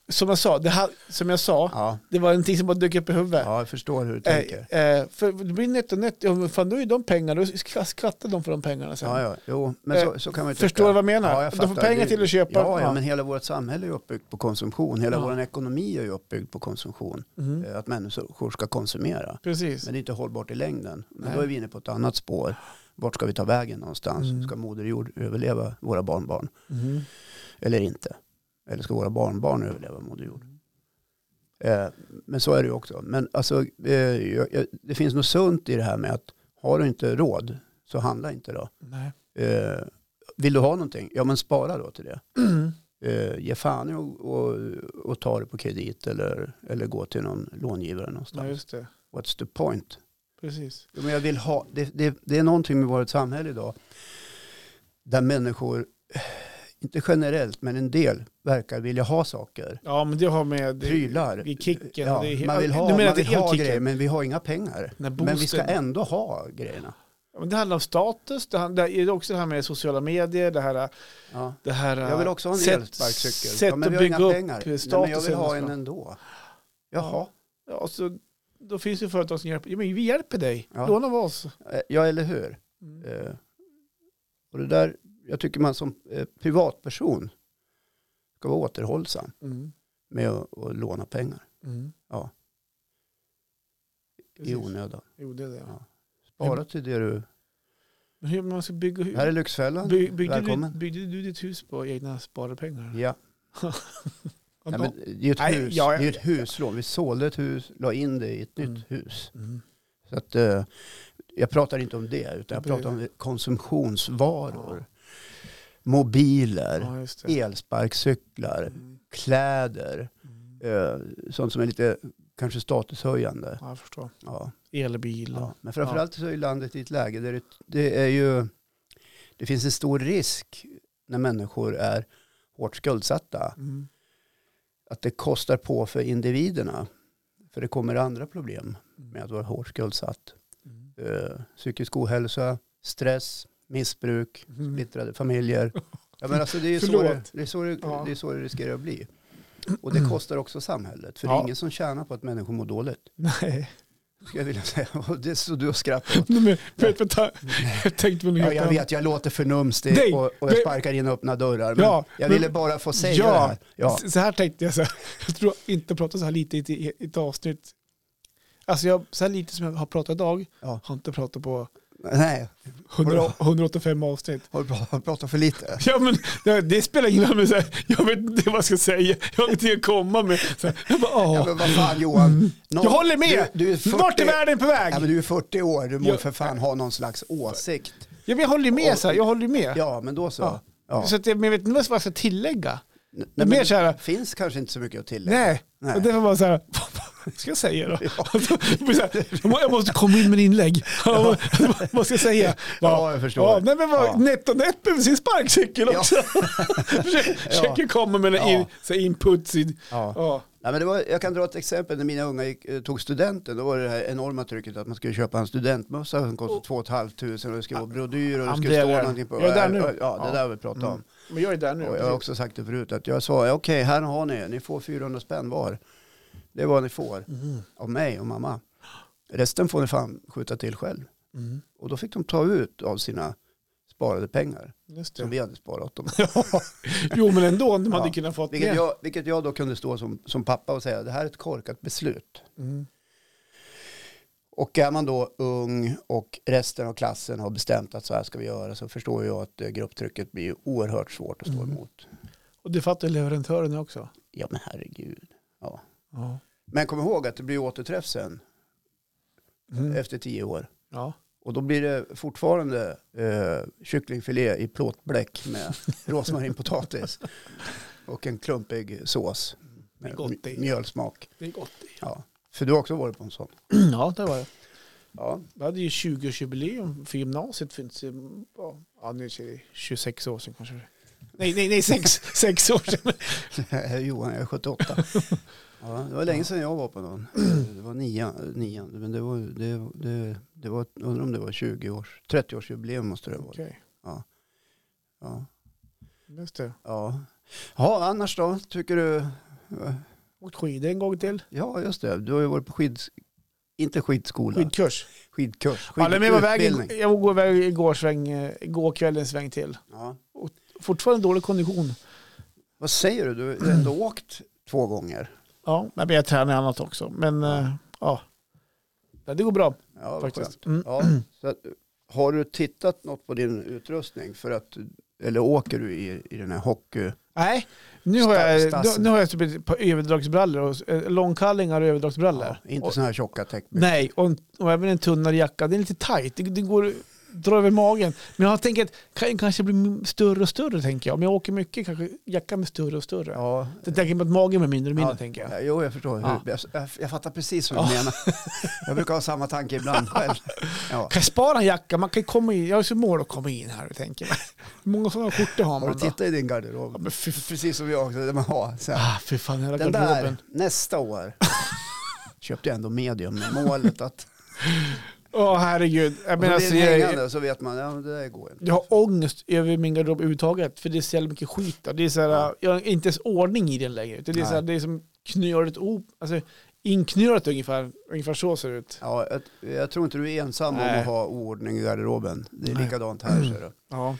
[SPEAKER 2] som jag sa, det, här, som jag sa
[SPEAKER 1] ja,
[SPEAKER 2] det var någonting som bara dök upp i huvudet.
[SPEAKER 1] ja, jag förstår hur du
[SPEAKER 2] Eh,
[SPEAKER 1] tänker.
[SPEAKER 2] eh, för det blir netto, netto, ja, men fan då är ju de pengarna, då ska- skvattar de för de pengarna sen.
[SPEAKER 1] Ja, ja, jo, men så,
[SPEAKER 2] Liksom. Eh,
[SPEAKER 1] så kan man ju tycka.
[SPEAKER 2] Förstår du vad jag menar?
[SPEAKER 1] Ja, jag
[SPEAKER 2] de får
[SPEAKER 1] fattar.
[SPEAKER 2] pengar
[SPEAKER 1] Det-
[SPEAKER 2] till att köpa.
[SPEAKER 1] Ja, ja, men hela vårt samhälle är ju uppbyggt på konsumtion. Hela
[SPEAKER 2] Ja.
[SPEAKER 1] vår ekonomi är ju uppbyggd på konsumtion.
[SPEAKER 2] Mhm.
[SPEAKER 1] Eh, Att människor ska konsumera.
[SPEAKER 2] Precis.
[SPEAKER 1] Men det är inte hållbart i längden. Men
[SPEAKER 2] Nej.
[SPEAKER 1] då är vi inne på ett annat spår. Vart ska vi ta vägen någonstans?
[SPEAKER 2] Mm.
[SPEAKER 1] Ska Moder Jord överleva våra barnbarn
[SPEAKER 2] Mhm.
[SPEAKER 1] eller inte? Eller ska våra barnbarn överleva Moder Jord? Eh, men så är det ju också. Men alltså, eh, jag, jag, det finns något sunt i det här med att har du inte råd så handla inte då.
[SPEAKER 2] Nej.
[SPEAKER 1] Eh, vill du ha någonting? Ja men spara då till det.
[SPEAKER 2] Mm.
[SPEAKER 1] Eh, ge fan i och, och, och ta det på kredit eller, eller gå till någon långivare
[SPEAKER 2] Ja,
[SPEAKER 1] någonstans.
[SPEAKER 2] just det.
[SPEAKER 1] What's the point?
[SPEAKER 2] Precis.
[SPEAKER 1] Jo, Men jag vill ha, det, det, det är någonting med vårt samhälle idag där människor, eh, inte generellt men en del, verkar vilja ha saker.
[SPEAKER 2] Ja, men det har med... det-
[SPEAKER 1] Prylar.
[SPEAKER 2] det är kicken,
[SPEAKER 1] Ja,
[SPEAKER 2] det är he-
[SPEAKER 1] man vill
[SPEAKER 2] du
[SPEAKER 1] ha,
[SPEAKER 2] menar
[SPEAKER 1] man
[SPEAKER 2] att det är
[SPEAKER 1] vill ha
[SPEAKER 2] elkicken?
[SPEAKER 1] grejer men vi har inga pengar.
[SPEAKER 2] Nej,
[SPEAKER 1] Men vi ska
[SPEAKER 2] boosten.
[SPEAKER 1] ändå ha grejerna.
[SPEAKER 2] Ja, men Det handlar om status, det, handlar, det är också det här med sociala medier, det här...
[SPEAKER 1] Ja.
[SPEAKER 2] Det här
[SPEAKER 1] Jag vill också ha en
[SPEAKER 2] sätt-
[SPEAKER 1] elsparkcykel.
[SPEAKER 2] Sätt
[SPEAKER 1] ja, men
[SPEAKER 2] att
[SPEAKER 1] vi har
[SPEAKER 2] bygga
[SPEAKER 1] inga
[SPEAKER 2] upp
[SPEAKER 1] pengar.
[SPEAKER 2] statusen.
[SPEAKER 1] Nej, men jag vill ha en
[SPEAKER 2] någonstans.
[SPEAKER 1] ändå. Jaha.
[SPEAKER 2] Ja, och så, då finns det företag som hjälper. Ja, men vi hjälper dig.
[SPEAKER 1] Ja.
[SPEAKER 2] Låna av oss.
[SPEAKER 1] Eh, Ja, eller hur?
[SPEAKER 2] Mm.
[SPEAKER 1] Eh, Och det där, jag tycker man som eh, privatperson ska vara återhållsam
[SPEAKER 2] Mm.
[SPEAKER 1] med att, att låna pengar
[SPEAKER 2] Mm.
[SPEAKER 1] Ja.
[SPEAKER 2] Precis.
[SPEAKER 1] i onödan.
[SPEAKER 2] Jo, det är det.
[SPEAKER 1] Ja. Spara till det du...
[SPEAKER 2] Men Hur man ska bygga hus.
[SPEAKER 1] Här är Lyxfällan.
[SPEAKER 2] By, byggde, du,
[SPEAKER 1] Välkommen.
[SPEAKER 2] byggde du ditt hus på egna sparpengar?
[SPEAKER 1] Ja.
[SPEAKER 2] Ja,
[SPEAKER 1] Nej,
[SPEAKER 2] bra.
[SPEAKER 1] men det är ju ett
[SPEAKER 2] Nej,
[SPEAKER 1] hus.
[SPEAKER 2] ja,
[SPEAKER 1] Det är ju
[SPEAKER 2] ja,
[SPEAKER 1] ett huslån. Vi sålde ett hus, la in det i ett
[SPEAKER 2] Mm.
[SPEAKER 1] nytt hus.
[SPEAKER 2] Mm.
[SPEAKER 1] Så att, eh, jag pratar inte om det, utan jag
[SPEAKER 2] Det blir-
[SPEAKER 1] pratar om konsumtionsvaror. Mobiler,
[SPEAKER 2] Ja, just det.
[SPEAKER 1] elsparkcyklar,
[SPEAKER 2] Mm.
[SPEAKER 1] kläder.
[SPEAKER 2] Mm.
[SPEAKER 1] eh, sånt som är lite kanske statushöjande.
[SPEAKER 2] Ja, jag förstår.
[SPEAKER 1] Ja,
[SPEAKER 2] Elbil.
[SPEAKER 1] ja. Men framförallt så är landet i ett läge där det, det är ju, det finns en stor risk när människor är hårt skuldsatta,
[SPEAKER 2] Mm.
[SPEAKER 1] att det kostar på för individerna. För det kommer andra problem med att vara hårt skuldsatt.
[SPEAKER 2] Mm.
[SPEAKER 1] Eh, psykisk ohälsa, stress, missbruk,
[SPEAKER 2] Mm.
[SPEAKER 1] splittrade familjer. Ja, men alltså det, är ju så
[SPEAKER 2] Förlåt.
[SPEAKER 1] det, det, är så det,
[SPEAKER 2] Ja. Mm.
[SPEAKER 1] det är så det riskerar att bli. Och det kostar också samhället, för det är
[SPEAKER 2] Ja.
[SPEAKER 1] ingen som tjänar på att människor mår dåligt.
[SPEAKER 2] Nej.
[SPEAKER 1] skulle jag vilja säga. Och det så du och skrattar åt.
[SPEAKER 2] Nej, men, vet, vänta. Jag tänkte på något
[SPEAKER 1] Ja,
[SPEAKER 2] helt
[SPEAKER 1] jag
[SPEAKER 2] annat.
[SPEAKER 1] vet, jag låter förnumstig
[SPEAKER 2] Nej,
[SPEAKER 1] och, och jag
[SPEAKER 2] det-
[SPEAKER 1] sparkar in öppna dörrar. Men
[SPEAKER 2] Ja,
[SPEAKER 1] jag
[SPEAKER 2] men-
[SPEAKER 1] ville bara få säga
[SPEAKER 2] Ja.
[SPEAKER 1] det här. Ja,
[SPEAKER 2] S- Så här tänkte jag, så här. jag tror inte jag pratat så här lite i ett, i ett avsnitt. Alltså jag, så här lite som jag har pratat idag,
[SPEAKER 1] Ja.
[SPEAKER 2] har inte pratat på
[SPEAKER 1] nej,
[SPEAKER 2] 100, 185 avsnitt.
[SPEAKER 1] har du pra- har du pratat för lite?
[SPEAKER 2] Ja, men, det, det spelar ingen roll, men så här, jag vet inte vad jag ska säga, jag har ingenting att komma med. Så här, jag, bara, åh.
[SPEAKER 1] Ja, men vad fan Johan. Någon,
[SPEAKER 2] Mm. jag håller med,
[SPEAKER 1] Du, du är 40,
[SPEAKER 2] vart är världen på väg?
[SPEAKER 1] Ja, men du är 40 år, du måste
[SPEAKER 2] Jag-
[SPEAKER 1] för fan ha någon slags åsikt.
[SPEAKER 2] ja, men jag håller med, så här, jag håller med.
[SPEAKER 1] Ja, men då så.
[SPEAKER 2] Ja.
[SPEAKER 1] Ja.
[SPEAKER 2] Så att, jag- men jag vet inte vad jag ska tillägga.
[SPEAKER 1] Nej,
[SPEAKER 2] mer
[SPEAKER 1] men
[SPEAKER 2] så här-
[SPEAKER 1] det finns kanske inte så mycket att tillägga.
[SPEAKER 2] Nej,
[SPEAKER 1] Nej.
[SPEAKER 2] och det var bara så här, vad ska jag säga då? Alltså, det blir så här, jag må- jag måste komma in med inlägg. Ja, vad- vad ska jag säga?
[SPEAKER 1] Ja, jag förstår.
[SPEAKER 2] Ja, nej, men vad,
[SPEAKER 1] Ja.
[SPEAKER 2] Netto Nepp med sin sparkcykel
[SPEAKER 1] Ja.
[SPEAKER 2] också. Försöker försöker komma med en in,
[SPEAKER 1] Ja.
[SPEAKER 2] så här input. i-
[SPEAKER 1] Ja.
[SPEAKER 2] Ja.
[SPEAKER 1] Nej, men det var, jag kan dra ett exempel när mina unga gick, eh, tog studenten. Då var det det här enorma trycket att man skulle köpa en studentmössa som kostade 2 500 och det skulle vara brodyr och det skulle stå
[SPEAKER 2] Andrea,
[SPEAKER 1] någonting på.
[SPEAKER 2] jag är där nu.
[SPEAKER 1] Ja, det
[SPEAKER 2] Ja.
[SPEAKER 1] där har vi pratat om.
[SPEAKER 2] Mm. Men jag är där nu.
[SPEAKER 1] Och Mm. jag har också sagt det förut att jag sa okej, här har ni, ni får 400 spänn var. Det är vad ni får
[SPEAKER 2] Mm.
[SPEAKER 1] av mig och mamma. Resten får ni fan skjuta till själv.
[SPEAKER 2] Mm.
[SPEAKER 1] Och då fick de ta ut av sina sparade pengar
[SPEAKER 2] Just
[SPEAKER 1] som
[SPEAKER 2] det.
[SPEAKER 1] vi hade sparat dem.
[SPEAKER 2] Jo, men ändå, de hade
[SPEAKER 1] Ja.
[SPEAKER 2] kunnat fått
[SPEAKER 1] Vilket
[SPEAKER 2] det.
[SPEAKER 1] jag, vilket jag då kunde stå som, som pappa och säga det här är ett korkat beslut.
[SPEAKER 2] Mm.
[SPEAKER 1] Och är man då ung och resten av klassen har bestämt att så här ska vi göra så förstår jag att eh, grupptrycket blir oerhört svårt att stå
[SPEAKER 2] Mm.
[SPEAKER 1] emot.
[SPEAKER 2] Och det fattar leverantören också.
[SPEAKER 1] Ja men herregud.
[SPEAKER 2] Ja.
[SPEAKER 1] Men kom ihåg att det blir återträff sen
[SPEAKER 2] Mm.
[SPEAKER 1] efter tio år.
[SPEAKER 2] Ja.
[SPEAKER 1] Och då blir det fortfarande eh, kycklingfilé i plåtbläck med rosmarinpotatis. Och en klumpig sås
[SPEAKER 2] Det är
[SPEAKER 1] med
[SPEAKER 2] gott
[SPEAKER 1] mj-
[SPEAKER 2] i.
[SPEAKER 1] mjölsmak.
[SPEAKER 2] Det är gott.
[SPEAKER 1] Ja. För du har också varit på en sån.
[SPEAKER 2] Ja, det var det.
[SPEAKER 1] Ja,
[SPEAKER 2] Vi hade ju 20-årsjubileum för gymnasiet. Finns ju, ja, ja, nu är det 26 år sedan kanske. Nej, nej, nej, sex, sex år sedan.
[SPEAKER 1] Johan, jag är 78. Ja, det var länge sedan jag var på någon. Det var nian, nian. men det var, det, det, det var, undrar om det var 20 års, 30-årsjubileum måste det vara.
[SPEAKER 2] Okej,
[SPEAKER 1] Ja.
[SPEAKER 2] just det.
[SPEAKER 1] Ja. ja, annars då, tycker du?
[SPEAKER 2] Åkt skidor en gång till.
[SPEAKER 1] Ja, just det. Du har ju varit på skid, inte skidskola,
[SPEAKER 2] Skidkurs.
[SPEAKER 1] skidkurs,
[SPEAKER 2] Ja, nej, men jag, var vägen,
[SPEAKER 1] skidutbildning.
[SPEAKER 2] jag går iväg igår, sväng, eh, igår kväll en sväng till.
[SPEAKER 1] Ja.
[SPEAKER 2] Fortfarande dålig kondition.
[SPEAKER 1] Vad säger du? Du har ändå åkt två gånger.
[SPEAKER 2] Ja, men jag tränar annat också. Men eh, ja, Ja, det går bra
[SPEAKER 1] Ja, vad skönt.
[SPEAKER 2] faktiskt. Mm.
[SPEAKER 1] Ja, så att, har du tittat något på din utrustning? För att, eller åker du i, i den här hockey...
[SPEAKER 2] Nej, nu har, jag,
[SPEAKER 1] Stas-
[SPEAKER 2] nu har jag typ ett par överdragsbrallor. Och, eh, långkallingar och överdragsbrallor.
[SPEAKER 1] Ja, inte
[SPEAKER 2] och,
[SPEAKER 1] sådana här tjocka täckbyxor.
[SPEAKER 2] nej, och, en- och även en tunnare jacka. Den är lite tajt. Det, det går att dra över magen. Men jag tänker att kan, kanske blir större och större tänker jag. Om jag åker mycket kanske jackan blir större och större.
[SPEAKER 1] Ja.
[SPEAKER 2] Så jag tänker på att magen blir mindre och mindre
[SPEAKER 1] Ja,
[SPEAKER 2] tänker jag.
[SPEAKER 1] ja, Jo, jag förstår.
[SPEAKER 2] Ja.
[SPEAKER 1] Hur, jag, jag, jag fattar precis vad du menar. Jag brukar ha samma tanke ibland själv. Ja.
[SPEAKER 2] Kan jag spara en jacka? Man kan ju komma in. Jag har så mål att komma in här tänker jag. Hur många sådana skjortor har
[SPEAKER 1] Har du
[SPEAKER 2] man då?
[SPEAKER 1] tittat i din garderob?
[SPEAKER 2] Ja, men fy
[SPEAKER 1] Precis som jag också. där man har så här.
[SPEAKER 2] Ah, fy fan, hela
[SPEAKER 1] Den
[SPEAKER 2] garderoben.
[SPEAKER 1] där, nästa år. Köpte jag ändå medium med målet att...
[SPEAKER 2] Åh herregud.
[SPEAKER 1] Men
[SPEAKER 2] Jag, menar,
[SPEAKER 1] blir
[SPEAKER 2] alltså,
[SPEAKER 1] det
[SPEAKER 2] jag,
[SPEAKER 1] hängande så vet man, ja, men det där går inte.
[SPEAKER 2] jag har ångest över min garderob överhuvudtaget. För det är så jävla mycket skit. där. Det är så här,
[SPEAKER 1] Ja.
[SPEAKER 2] Jag har inte ens ordning i den längre. utan Det är, så här,
[SPEAKER 1] Nej.
[SPEAKER 2] det är som knöligt op, alltså, inknölat ungefär. Ungefär så ser det ut.
[SPEAKER 1] Ja, jag, jag tror inte du är ensam om
[SPEAKER 2] Nej.
[SPEAKER 1] att ha oordning i garderoben. Det är
[SPEAKER 2] Nej.
[SPEAKER 1] likadant här. Ser du.
[SPEAKER 2] Ja.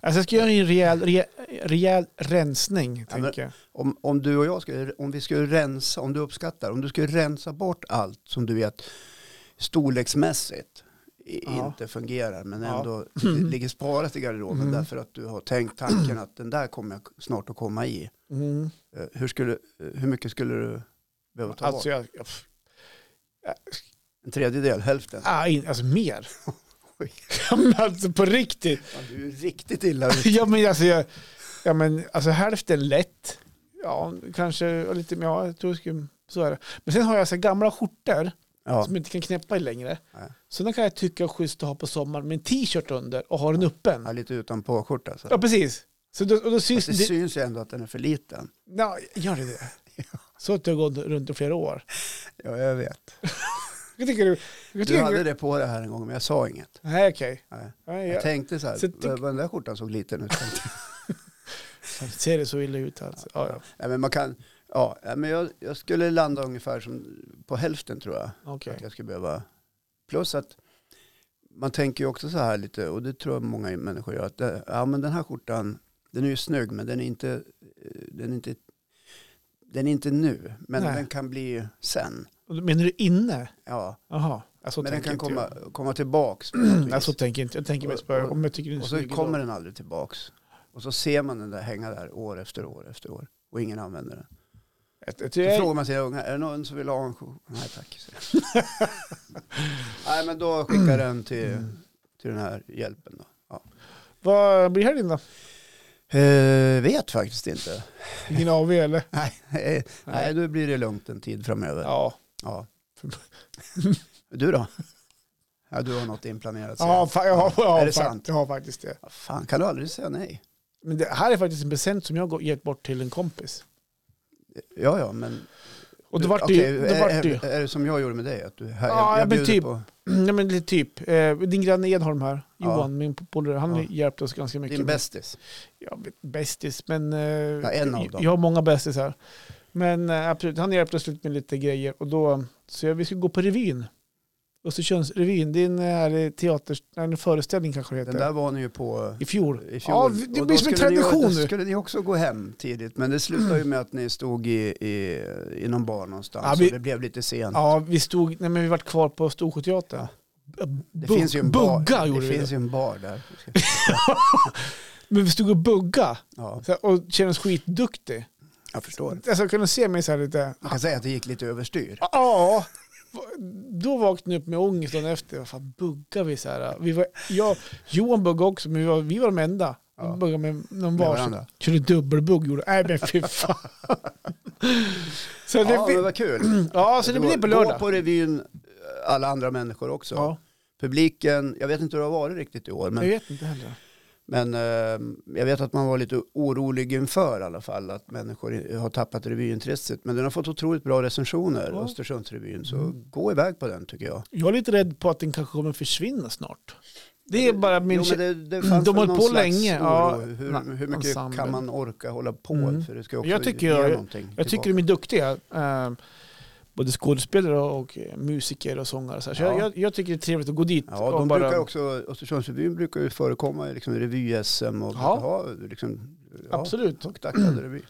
[SPEAKER 2] Alltså, jag ska göra en rejäl, rejäl, rejäl rensning,
[SPEAKER 1] men-
[SPEAKER 2] tänker jag.
[SPEAKER 1] Om, om du och jag skulle, om vi skulle rensa, om du uppskattar, om du skulle rensa bort allt som du vet storleksmässigt i,
[SPEAKER 2] Ja.
[SPEAKER 1] inte fungerar men
[SPEAKER 2] Ja.
[SPEAKER 1] ändå det ligger sparat i garderoben
[SPEAKER 2] Mm.
[SPEAKER 1] därför att du har tänkt tanken att den där kommer jag snart att komma i.
[SPEAKER 2] Mm.
[SPEAKER 1] Eh, Hur, skulle, eh, hur mycket skulle du behöva ta
[SPEAKER 2] Alltså,
[SPEAKER 1] bort?
[SPEAKER 2] jag, jag, pff,
[SPEAKER 1] En tredjedel, hälften?
[SPEAKER 2] ah, in, alltså mer.
[SPEAKER 1] Oj.
[SPEAKER 2] Ja, men alltså på riktigt.
[SPEAKER 1] Ja, du är riktigt illa ute.
[SPEAKER 2] ja, men alltså, jag, ja, men alltså hälften lätt. Ja, kanske lite mer. Ja, jag tror jag skulle, så är det. Men sen har jag så här gamla skjortor
[SPEAKER 1] Ja.
[SPEAKER 2] som jag inte kan knäppa i längre.
[SPEAKER 1] Nej.
[SPEAKER 2] Så den kan jag tycka är schysst att ha på sommaren med en t-shirt under och ha den öppen.
[SPEAKER 1] Ja, lite utan påskjorta. Alltså.
[SPEAKER 2] Ja, precis. Så då, och då syns
[SPEAKER 1] Fast det
[SPEAKER 2] det.
[SPEAKER 1] syns ju ändå att den är för liten.
[SPEAKER 2] Ja, gör det det? Så att jag har gått runt i flera år.
[SPEAKER 1] Ja, jag vet.
[SPEAKER 2] Jag tycker du? Jag
[SPEAKER 1] Du
[SPEAKER 2] tycker
[SPEAKER 1] hade
[SPEAKER 2] du
[SPEAKER 1] det på det här en gång men jag sa inget.
[SPEAKER 2] nej, okej.
[SPEAKER 1] Nej.
[SPEAKER 2] Nej,
[SPEAKER 1] Jag
[SPEAKER 2] jag
[SPEAKER 1] tänkte så här,
[SPEAKER 2] Så tyck-
[SPEAKER 1] vad vad den där skjortan såg liten ut.
[SPEAKER 2] ser det så illa ut alltså. Ja, ja.
[SPEAKER 1] Nej, men man kan, ja, nej, men jag, jag skulle landa ungefär som på hälften tror jag.
[SPEAKER 2] Okej.
[SPEAKER 1] Att jag skulle behöva. Plus att man tänker ju också så här lite, och det tror jag många människor gör, att det, ja, men den här skjortan, den är ju snygg men den är inte, eh, den är inte, den är inte nu, men
[SPEAKER 2] Nej.
[SPEAKER 1] den kan bli sen.
[SPEAKER 2] Och då Menar du inne?
[SPEAKER 1] Ja,
[SPEAKER 2] Jaha. Ja, så
[SPEAKER 1] men den
[SPEAKER 2] tänker
[SPEAKER 1] kan
[SPEAKER 2] inte jag. Alltså,
[SPEAKER 1] komma, komma tillbaks. på något vis.
[SPEAKER 2] Nej, så tänker jag inte. Jag tänker mest på om jag tycker det är
[SPEAKER 1] Och så
[SPEAKER 2] snygg
[SPEAKER 1] kommer den aldrig tillbaks. Och så ser man den där hänga där år efter år efter år. Och ingen använder den.
[SPEAKER 2] Jag, jag,
[SPEAKER 1] Då
[SPEAKER 2] jag,
[SPEAKER 1] frågar man sina unga, är det någon som vill ha en jour? Nej tack. säger jag. Nej men då skickar jag den till, till den här hjälpen då.
[SPEAKER 2] vad blir helgen då?
[SPEAKER 1] Eh, vet faktiskt inte.
[SPEAKER 2] Vilken AV eller?
[SPEAKER 1] Nej, Nej då blir det lugnt en tid framöver. Ja.
[SPEAKER 2] Ja.
[SPEAKER 1] Du då? Ja, du har något inplanerat. säger
[SPEAKER 2] Ja,
[SPEAKER 1] jag.
[SPEAKER 2] fa- ja, ja,
[SPEAKER 1] Är det
[SPEAKER 2] fa-
[SPEAKER 1] sant?
[SPEAKER 2] Ja, faktiskt det.
[SPEAKER 1] Ja, Fan, kan du aldrig säga nej?
[SPEAKER 2] Men det här är faktiskt en present som jag har gett bort till en kompis.
[SPEAKER 1] Ja, ja, men...
[SPEAKER 2] Och då
[SPEAKER 1] du-
[SPEAKER 2] vart det
[SPEAKER 1] okej, eh,
[SPEAKER 2] ju... då
[SPEAKER 1] är,
[SPEAKER 2] vart det ju-
[SPEAKER 1] är, är det som jag gjorde med dig? Att du, här,
[SPEAKER 2] Ja,
[SPEAKER 1] jag, jag
[SPEAKER 2] men
[SPEAKER 1] bjuder
[SPEAKER 2] typ.
[SPEAKER 1] på
[SPEAKER 2] Nej men lite typ, eh, din granne Edholm här,
[SPEAKER 1] Ja.
[SPEAKER 2] Johan, min polare, han
[SPEAKER 1] Ja.
[SPEAKER 2] hjälpte oss ganska mycket.
[SPEAKER 1] din bästis.
[SPEAKER 2] ja, bästis, men eh,
[SPEAKER 1] en av dem.
[SPEAKER 2] jag har många bästisar. Men eh, absolut, han hjälpte oss lite med lite grejer och då, så jag, vi skulle gå på revyn. Östersundsrevyn, det är en, eh, teater, en föreställning kanske det heter.
[SPEAKER 1] Den där var ni ju på eh,
[SPEAKER 2] I fjol.
[SPEAKER 1] i fjol.
[SPEAKER 2] Ja, det
[SPEAKER 1] Och då
[SPEAKER 2] blir som en
[SPEAKER 1] skulle ni-
[SPEAKER 2] tradition
[SPEAKER 1] Då
[SPEAKER 2] nu.
[SPEAKER 1] skulle ni också gå hem tidigt, men det slutade ju med att ni stod i, i, i någon bar någonstans
[SPEAKER 2] Ja, vi-
[SPEAKER 1] och det blev lite sent.
[SPEAKER 2] Ja, vi stod, nej men vi vart kvar på Storsjöteatern.
[SPEAKER 1] det
[SPEAKER 2] bugg-
[SPEAKER 1] finns ju en
[SPEAKER 2] bugga
[SPEAKER 1] bar.
[SPEAKER 2] gjorde
[SPEAKER 1] Det
[SPEAKER 2] vi
[SPEAKER 1] finns ju
[SPEAKER 2] då.
[SPEAKER 1] en bar där.
[SPEAKER 2] Men vi stod och bugga
[SPEAKER 1] Ja,
[SPEAKER 2] så här, och kände oss skitduktig.
[SPEAKER 1] jag förstår.
[SPEAKER 2] Alltså jag kunde se mig så här lite,
[SPEAKER 1] Man kan säga att det gick lite överstyr.
[SPEAKER 2] Ja, då vaknade jag upp med ångest dagen efter. Vad fan buggar vi så här? Vi var, jag, Johan buggade också, men vi var, vi var de enda.
[SPEAKER 1] Ja.
[SPEAKER 2] De buggade med någon
[SPEAKER 1] Med
[SPEAKER 2] varsin.
[SPEAKER 1] varandra.
[SPEAKER 2] Körde dubbelbugg gjorde Nej men fy fan. så det,
[SPEAKER 1] Ja, men
[SPEAKER 2] ja,
[SPEAKER 1] vad kul.
[SPEAKER 2] ja, så det blir på
[SPEAKER 1] Gå
[SPEAKER 2] lördag.
[SPEAKER 1] på revyn, eh, alla andra människor också.
[SPEAKER 2] Ja,
[SPEAKER 1] Publiken, jag vet inte hur det har varit riktigt i år,
[SPEAKER 2] jag
[SPEAKER 1] men,
[SPEAKER 2] vet inte heller.
[SPEAKER 1] men eh, jag vet att man var lite orolig inför i alla fall, att människor i- har tappat revyintresset. Men den har fått otroligt bra recensioner,
[SPEAKER 2] Ja.
[SPEAKER 1] Östersundsrevyn, så
[SPEAKER 2] Mm.
[SPEAKER 1] gå iväg på den tycker jag.
[SPEAKER 2] Jag är lite rädd på att den kanske kommer försvinna snart. Det är bara min...
[SPEAKER 1] jo, men det, det fanns
[SPEAKER 2] de har
[SPEAKER 1] väl
[SPEAKER 2] hållit
[SPEAKER 1] någon
[SPEAKER 2] på
[SPEAKER 1] slags
[SPEAKER 2] länge,
[SPEAKER 1] Oro.
[SPEAKER 2] ja.
[SPEAKER 1] hur,
[SPEAKER 2] Nej,
[SPEAKER 1] hur mycket
[SPEAKER 2] ensemble.
[SPEAKER 1] kan man orka hålla på?
[SPEAKER 2] Mm.
[SPEAKER 1] För det ska också
[SPEAKER 2] Jag tycker
[SPEAKER 1] ge
[SPEAKER 2] jag-
[SPEAKER 1] någonting
[SPEAKER 2] Jag tycker
[SPEAKER 1] tillbaka.
[SPEAKER 2] de är duktiga. eh, Både skådespelare och eh, musiker och sångare. och Så, här. så
[SPEAKER 1] Ja.
[SPEAKER 2] jag, jag, jag tycker det är trevligt att gå dit.
[SPEAKER 1] Ja,
[SPEAKER 2] och
[SPEAKER 1] de brukar också, Östersundsrevyn brukar ju förekomma i liksom revy-SM och
[SPEAKER 2] Ja.
[SPEAKER 1] ja. ha liksom, ja,
[SPEAKER 2] Absolut.
[SPEAKER 1] högt aktad revy.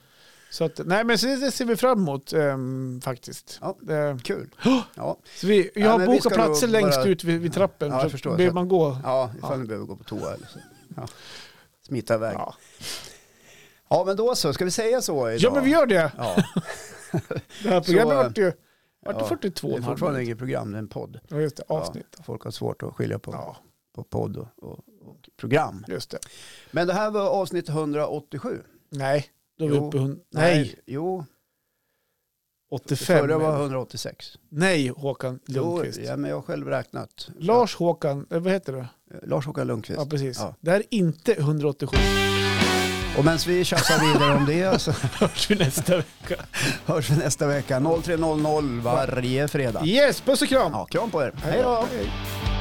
[SPEAKER 2] Så att, nej, men så det, det ser vi fram emot ehm, faktiskt.
[SPEAKER 1] Ja.
[SPEAKER 2] Det-
[SPEAKER 1] Kul.
[SPEAKER 2] Åh!
[SPEAKER 1] Ja,
[SPEAKER 2] så vi, jag
[SPEAKER 1] Ja,
[SPEAKER 2] har
[SPEAKER 1] men vi
[SPEAKER 2] bokat
[SPEAKER 1] ska
[SPEAKER 2] platser
[SPEAKER 1] nog
[SPEAKER 2] längst
[SPEAKER 1] bara-
[SPEAKER 2] ut vid, vid trappen.
[SPEAKER 1] Ja, jag
[SPEAKER 2] så
[SPEAKER 1] förstår.
[SPEAKER 2] behöver
[SPEAKER 1] Så-
[SPEAKER 2] man gå.
[SPEAKER 1] ja ifall
[SPEAKER 2] Ja.
[SPEAKER 1] ni behöver gå på toa eller så. Ja. Smita iväg. Ja.
[SPEAKER 2] Ja.
[SPEAKER 1] men då så, ska vi säga så idag?
[SPEAKER 2] ja, men vi gör det.
[SPEAKER 1] Ja,
[SPEAKER 2] Det här programmet
[SPEAKER 1] Så, eh,
[SPEAKER 2] vart ju vart
[SPEAKER 1] ja,
[SPEAKER 2] det 42
[SPEAKER 1] det är
[SPEAKER 2] och en halv
[SPEAKER 1] fortfarande
[SPEAKER 2] minut.
[SPEAKER 1] inget program, det är en podd.
[SPEAKER 2] Ja, just det. Avsnitt.
[SPEAKER 1] Ja, folk har svårt att skilja på,
[SPEAKER 2] Ja,
[SPEAKER 1] på podd och, och, och program.
[SPEAKER 2] just det.
[SPEAKER 1] Men det här var avsnitt 187.
[SPEAKER 2] Nej, då är vi
[SPEAKER 1] Jo.
[SPEAKER 2] uppe i hund- Nej,
[SPEAKER 1] Jo,
[SPEAKER 2] 85.
[SPEAKER 1] förra var
[SPEAKER 2] men-
[SPEAKER 1] 186.
[SPEAKER 2] Nej, Håkan
[SPEAKER 1] Jo,
[SPEAKER 2] Lundqvist.
[SPEAKER 1] ja, men jag har själv räknat.
[SPEAKER 2] Lars Håkan, eh, vad heter det?
[SPEAKER 1] Ja, Lars-Håkan Lundqvist.
[SPEAKER 2] Ja, precis.
[SPEAKER 1] Ja.
[SPEAKER 2] Det här är inte 187.
[SPEAKER 1] Och medan vi tjafsar vidare om det så
[SPEAKER 2] Hörs vi nästa vecka.
[SPEAKER 1] hörs vi nästa vecka. 03.00 varje fredag.
[SPEAKER 2] Yes, puss och kram.
[SPEAKER 1] Ja, kram på er.
[SPEAKER 2] Hej då. Hej.
[SPEAKER 1] Hej.